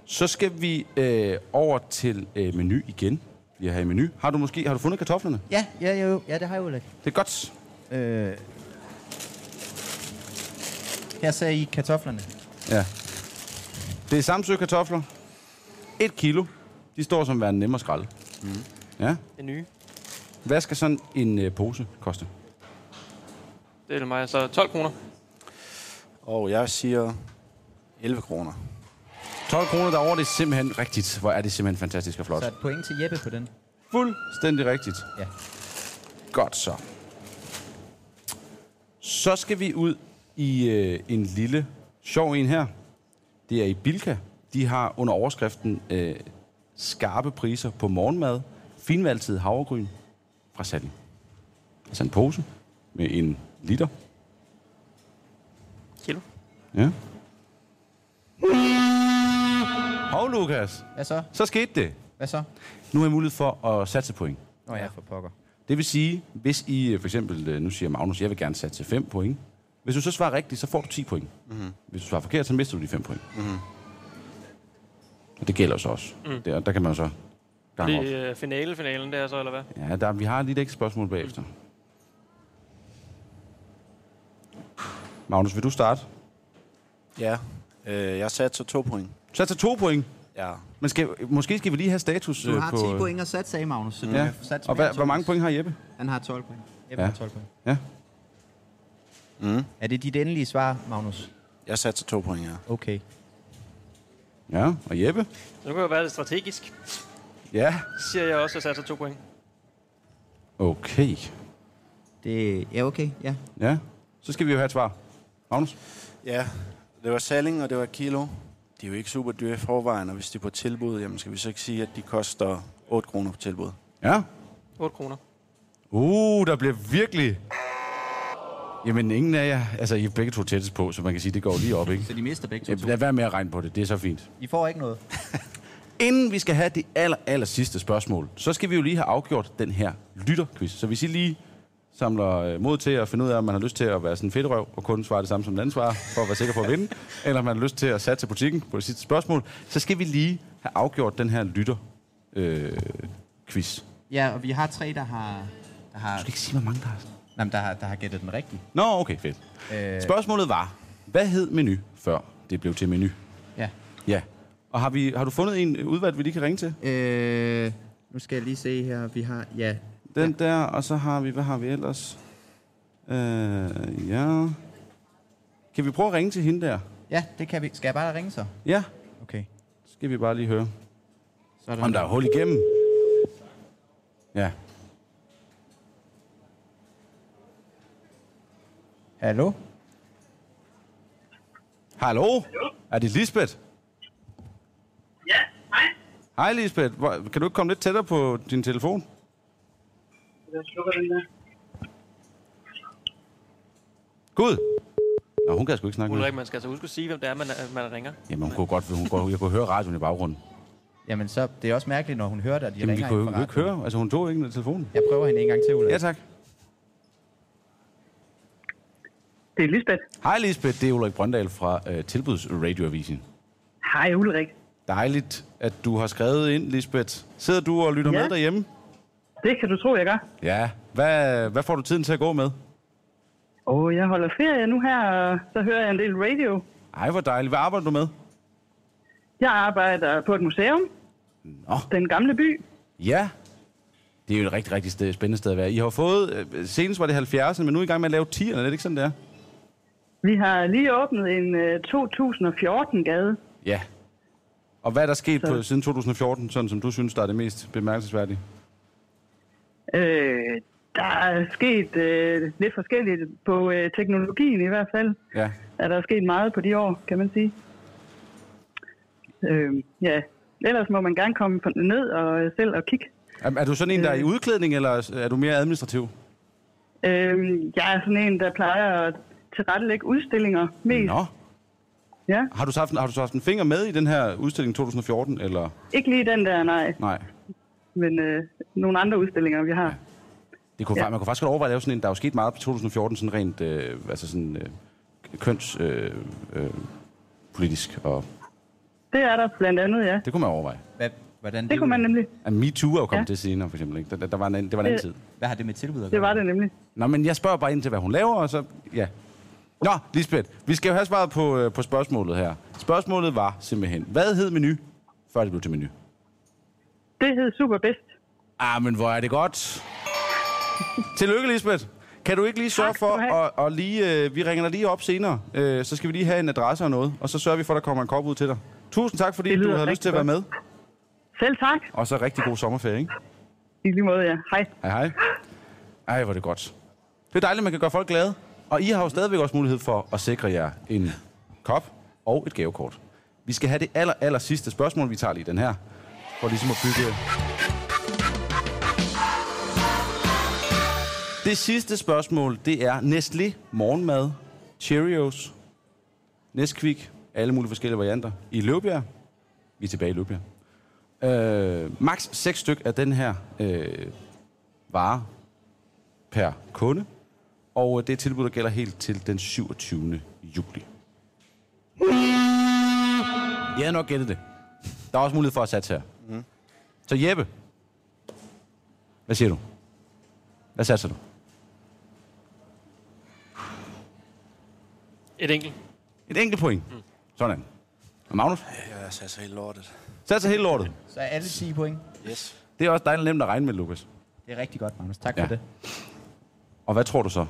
Så skal vi øh, over til øh, menu igen. Vi er her i menu. Har du måske har du fundet kartoflerne?
Ja, ja, jo, ja, det har jeg jo lagt.
Det er godt.
Øh, her ser I kartoflerne.
Ja. Det er Samsø kartofler. Et kilo. De står som værende nemme at skralde. Mm. Ja.
Det nye.
Hvad skal sådan en øh, pose koste?
Det er mig, så 12 kroner.
Og jeg siger 11 kroner.
12 kroner derovre, det er simpelthen rigtigt. Hvor er det simpelthen fantastisk og flot.
Så et point til Jeppe på den.
Fuldstændig rigtigt.
Ja.
Godt så. Så skal vi ud i øh, en lille sjov en her. Det er i Bilka. De har under overskriften øh, skarpe priser på morgenmad, finvalgtid havregryn fra Sally. Altså en pose med en liter.
Kilo.
Ja. Hov, Lukas.
Hvad så?
Så skete det.
Hvad så?
Nu har I mulighed for at satse point.
Nå ja, for pokker.
Det vil sige, hvis I øh, for eksempel, øh, nu siger Magnus, jeg vil gerne satse 5 point. Hvis du så svarer rigtigt, så får du 10 point. Mm-hmm. Hvis du svarer forkert, så mister du de 5 point. Mm-hmm. Og det gælder jo så også. Mm. Der, der kan man jo så gange op.
Det er øh, finale-finalen der så, eller hvad?
Ja, der, vi har lige et ekstra spørgsmål bagefter. Magnus, vil du starte?
Ja. Øh, jeg satte så 2 point.
Satser 2 point.
Ja.
Men skal, måske skal vi lige have status
Du
øh,
har
på...
10 point at satse af, Magnus. Så du
Ja.
kan satse
Og
mere
hvad,
end
hvor mange
Thomas.
point har Jeppe?
Han har 12 point.
Ja.
Jeppe ja. har 12 point.
Ja.
Mm.
Er det dit endelige svar, Magnus?
Jeg satte så 2 point, ja.
Okay.
Ja, og Jeppe?
Så nu kan jeg være lidt strategisk.
Ja.
Så siger jeg også, at jeg satte 2 point.
Okay.
Det, ja, okay. Ja.
Ja. Så skal vi jo have et svar. Magnus?
Ja, det var Salling, og det var Kilo. De er jo ikke super dyre i forvejen, og hvis de er på tilbud, jamen skal vi så ikke sige, at de koster 8 kroner på tilbud.
Ja.
8 kroner.
Uh, der bliver virkelig... Jamen, ingen af jer... Altså, I er begge to tættest på, så man kan sige, det går lige op, ikke?
Så de mister begge to.
Lad være med at regne på det, det er så fint.
I får ikke noget.
Inden vi skal have det aller, aller sidste spørgsmål, så skal vi jo lige have afgjort den her lytterquiz. Så hvis I lige samler øh, mod til at finde ud af, om man har lyst til at være sådan en fedtrøv og kun svare det samme som den anden svarer, for at være sikker på at vinde, eller om man har lyst til at satse butikken på det sidste spørgsmål, så skal vi lige have afgjort den her lytter øh, quiz. Du
Ja, og vi har tre, der har... Der har,
skal ikke sige, hvor mange der er.
nej, men der har, der har gættet den rigtige.
Nå, okay, fedt.
Øh,
Spørgsmålet var, hvad hed menu, før det blev til menu?
ja.
Ja. Og har, vi, har du fundet en udvalgt, vi lige kan ringe til?
Øh, nu skal jeg lige se her. Vi har... Ja.
Den ja. der, og så har vi, hvad har vi ellers? Øh, ja. Kan vi prøve at ringe til hende der?
Ja, det kan vi. Skal jeg bare ringe så?
Ja.
Okay.
Skal vi bare lige høre.
Sådan.
Om der er hul igennem. Ja.
Hallo?
Hallo? Er det Lisbeth?
Ja, hej.
Hej Lisbeth. Hvor, kan du ikke komme lidt tættere på din telefon?
Jeg slukker den der.
Gud. Nå, hun kan sgu ikke snakke med.
Ulrik, man skal altså huske at sige, hvem det er, man, man ringer.
Jamen, hun kunne godt, hun kunne, jeg kunne høre radioen i baggrunden.
Jamen, så, det er også mærkeligt, når hun hører dig, at de
Jamen, vi
ringer
kunne
ind
jo
fra
ikke høre. Altså, hun tog ikke ned telefonen.
radioen. Jeg prøver hende en gang til, Ulla.
Ja, tak.
Det er Lisbeth.
Hej Lisbeth, det er Ulrik Brøndal fra øh, Tilbuds Radioavisen.
Hej Ulrik.
Dejligt, at du har skrevet ind, Lisbeth. Sidder du og lytter
Ja.
med derhjemme?
Det kan du tro, jeg gør.
Ja. Hvad, hvad får du tiden til at gå med?
Åh, jeg holder ferie nu her, og så hører jeg en del radio.
Ej, hvor dejligt. Hvad arbejder du med?
Jeg arbejder på et museum,
Nå,
Den Gamle By.
ja. Det er jo et rigtig, rigtig sted, spændende sted at være. I har fået, øh, senest var det 70'erne, men nu er I i gang med at lave 10'erne, er det ikke sådan, det er?
Vi har lige åbnet en øh, 2014-gade.
Ja. Og hvad er der sket
Så-
på, siden 2014, sådan som du synes, der er det mest bemærkelsesværdige?
Øh, der er sket øh, lidt forskelligt på øh, teknologien i hvert fald.
Ja.
Er der sket meget på de år, kan man sige. øh, ja, ellers må man gerne komme på- ned og øh, selv og kigge.
Er, er du sådan en, der er i udklædning, eller er du mere administrativ?
Øh, jeg er sådan en, der plejer at tilrettelægge udstillinger mest.
Nå.
Ja,
Har du, så haft, en- har du så haft en finger med i den her udstilling 2014, eller?
ikke lige den der, nej,
Nej.
men øh, nogle andre udstillinger, vi har.
Det kunne, ja. Man kunne faktisk godt overveje at lave sådan en, der er jo sket meget på 2014, sådan rent øh, altså sådan, øh, køns øh, øh, politisk, og
Det er der blandt andet, ja.
det kunne man overveje.
Hvad, hvordan
Det kunne man nemlig.
Ja, MeToo er jo kommet ja.
Ja. Øh.
til senere, for eksempel. Ikke? Der, der, der var en, anden- det var en anden tid.
Det-
Hvad har det med tilbud at
Det var det nemlig.
Nå, men jeg spørger bare ind til, hvad hun laver, og så... Ja. Nå, Lisbeth, vi skal jo have svaret på, øh, på spørgsmålet her. Spørgsmålet var simpelthen, hvad hed menu, før det blev til menu?
Det hed super bedst.
Ah, men hvor er det godt. Tillykke, Lisbeth. Kan du ikke lige sørge for, at og lige, øh, vi ringer dig lige op senere, øh, så skal vi lige have en adresse og noget, og så sørger vi for, at der kommer en kop ud til dig. Tusind tak, fordi
Det
du
lyder
havde lyst
rigtig
til at være med,
godt. Selv tak.
og så rigtig god sommerferie, ikke?
I lige måde, ja. Hej.
Hej, hej. Ej, hvor er det godt. Det er dejligt, at man kan gøre folk glade. Og I har jo stadigvæk også mulighed for at sikre jer en kop og et gavekort. Vi skal have det aller, aller sidste spørgsmål, vi tager lige den her. For ligesom at bygge... Det sidste spørgsmål, det er Nestlé morgenmad, Cheerios, Nesquik, alle mulige forskellige varianter. I Løbjerg. Vi er tilbage i Løbjerg. Øh, max 6 styk af den her øh, vare per kunde. Og øh, det er et tilbud, der gælder helt til den 27. juli. Jeg havde nok gættet det. Der er også mulighed for at satse her.
Mhm.
Mm. Så Jeppe, hvad siger du? Hvad satser du?
Et enkelt.
Et enkelt point. Mm. Sådan. Og Magnus?
Jeg satser helt lortet.
Satser helt lortet.
Så er alle 10 point.
Yes.
Det er også dejligt nemt at regne med, Lukas.
Det er rigtig godt, Magnus. Tak ja. for det.
Og hvad tror du så? Det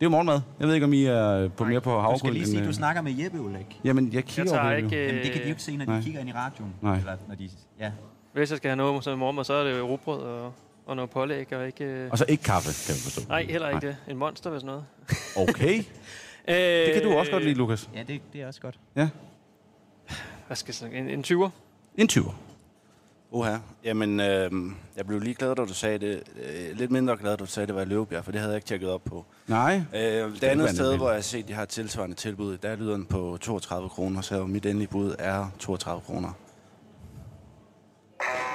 er jo morgenmad. Jeg ved ikke, om I er på mere på havregryn.
Du skal lige
end,
sige, at
øh,
du snakker med Jeppe,
Øh,
Ulrik.
Jamen, jeg kigger over på det jo.
Jamen, det kan de jo ikke se, når de
Nej.
kigger ind i radioen.
Nej.
Eller når de... Ja.
øh, Hvis jeg skal have noget som morgenmad, så er det jo rugbrød og, og noget pålæg. Og, ikke, øh,
Og så ikke kaffe, kan vi forstå.
Nej, heller ikke det. En monster, hvis noget.
Okay. det kan du også godt lide, Lukas.
Ja, det, det er også godt.
Ja.
Hvad skal jeg snakke? En, en 20'er?
En 20'er.
Uha. Jamen, øh, jeg blev lige glad, da du sagde det. Øh, lidt mindre glad, da du sagde, det var i Løvebjerg, for det havde jeg ikke tjekket op på.
Nej.
Øh, det
ikke være
andet sted,
nødvendigt.
hvor jeg har set, de har et tilsvarende tilbud, der er lyderen på 32 kroner, så mit endelige bud er 32 kroner.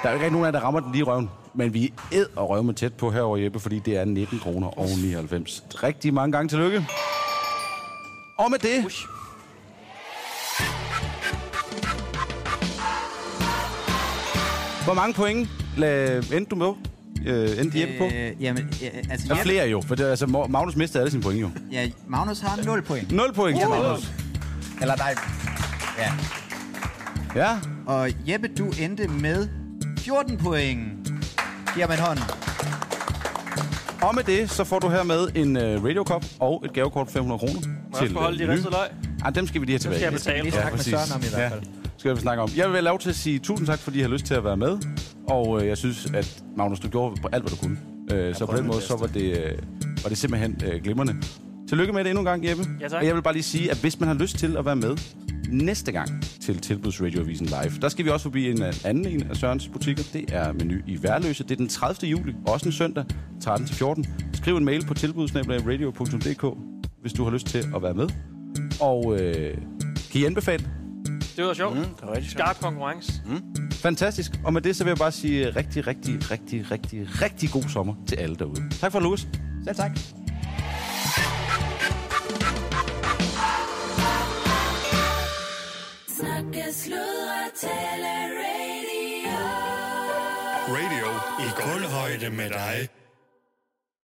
Der er jo ikke rigtig nogen af jer, der rammer den lige i røven. Men vi er æd og røv med tæt på herover Jeppe, fordi det er 19 kroner og 99. Rigtig mange gange tillykke. Og med det... Hvor mange point la- endte du med? Øh, endte Jeppe på?
Øh, jamen, ja, altså
Der er
Jeppe,
flere jo, for det, er altså, Mo- Magnus mistede alle sine point jo.
ja, Magnus har 0 point.
0 point til
Ja.
Magnus.
Eller nej. Ja.
Ja.
Og Jeppe, du endte med 14 point. Giver man hånden.
Og med det, så får du hermed en uh, radiokop og et gavekort på 500 kroner.
Må jeg også beholde de
øh,
ristede løg?
Ah, dem skal vi lige have
skal
tilbage.
jeg betale. Det skal vi lige snakke med Søren om i hvert fald.
Ja. Skal vi snakke om. Jeg vil have lov til at sige tusind tak, fordi I har lyst til at være med. Og øh, jeg synes, at Magnus, du gjorde alt, hvad du kunne. Øh, så på
prøvede
den
mit
måde, så var det, øh, var det simpelthen øh, glimrende. Tillykke med det endnu en gang, Jeppe.
Ja, tak.
Og jeg vil bare lige sige, at hvis man har lyst til at være med næste gang til Tilbudsradioavisen Live, der skal vi også forbi en øh, anden en af Sørens butikker. Det er Menu i Værløse. Det er den 30. juli, også en søndag, 13-14. Skriv en mail på tilbudsnabelagradio.dk, hvis du har lyst til at være med. Og øh, kan I anbefale
Det var sjovt.
Mm, det var rigtig sjovt.
Skarp konkurrence.
Fantastisk. Og med det, så vil jeg bare sige rigtig, rigtig, rigtig, rigtig, rigtig god sommer til alle derude. Tak for Louis.
Selv tak.
Snakke, sludre, tale, radio.
Radio i guldhøjde med dig.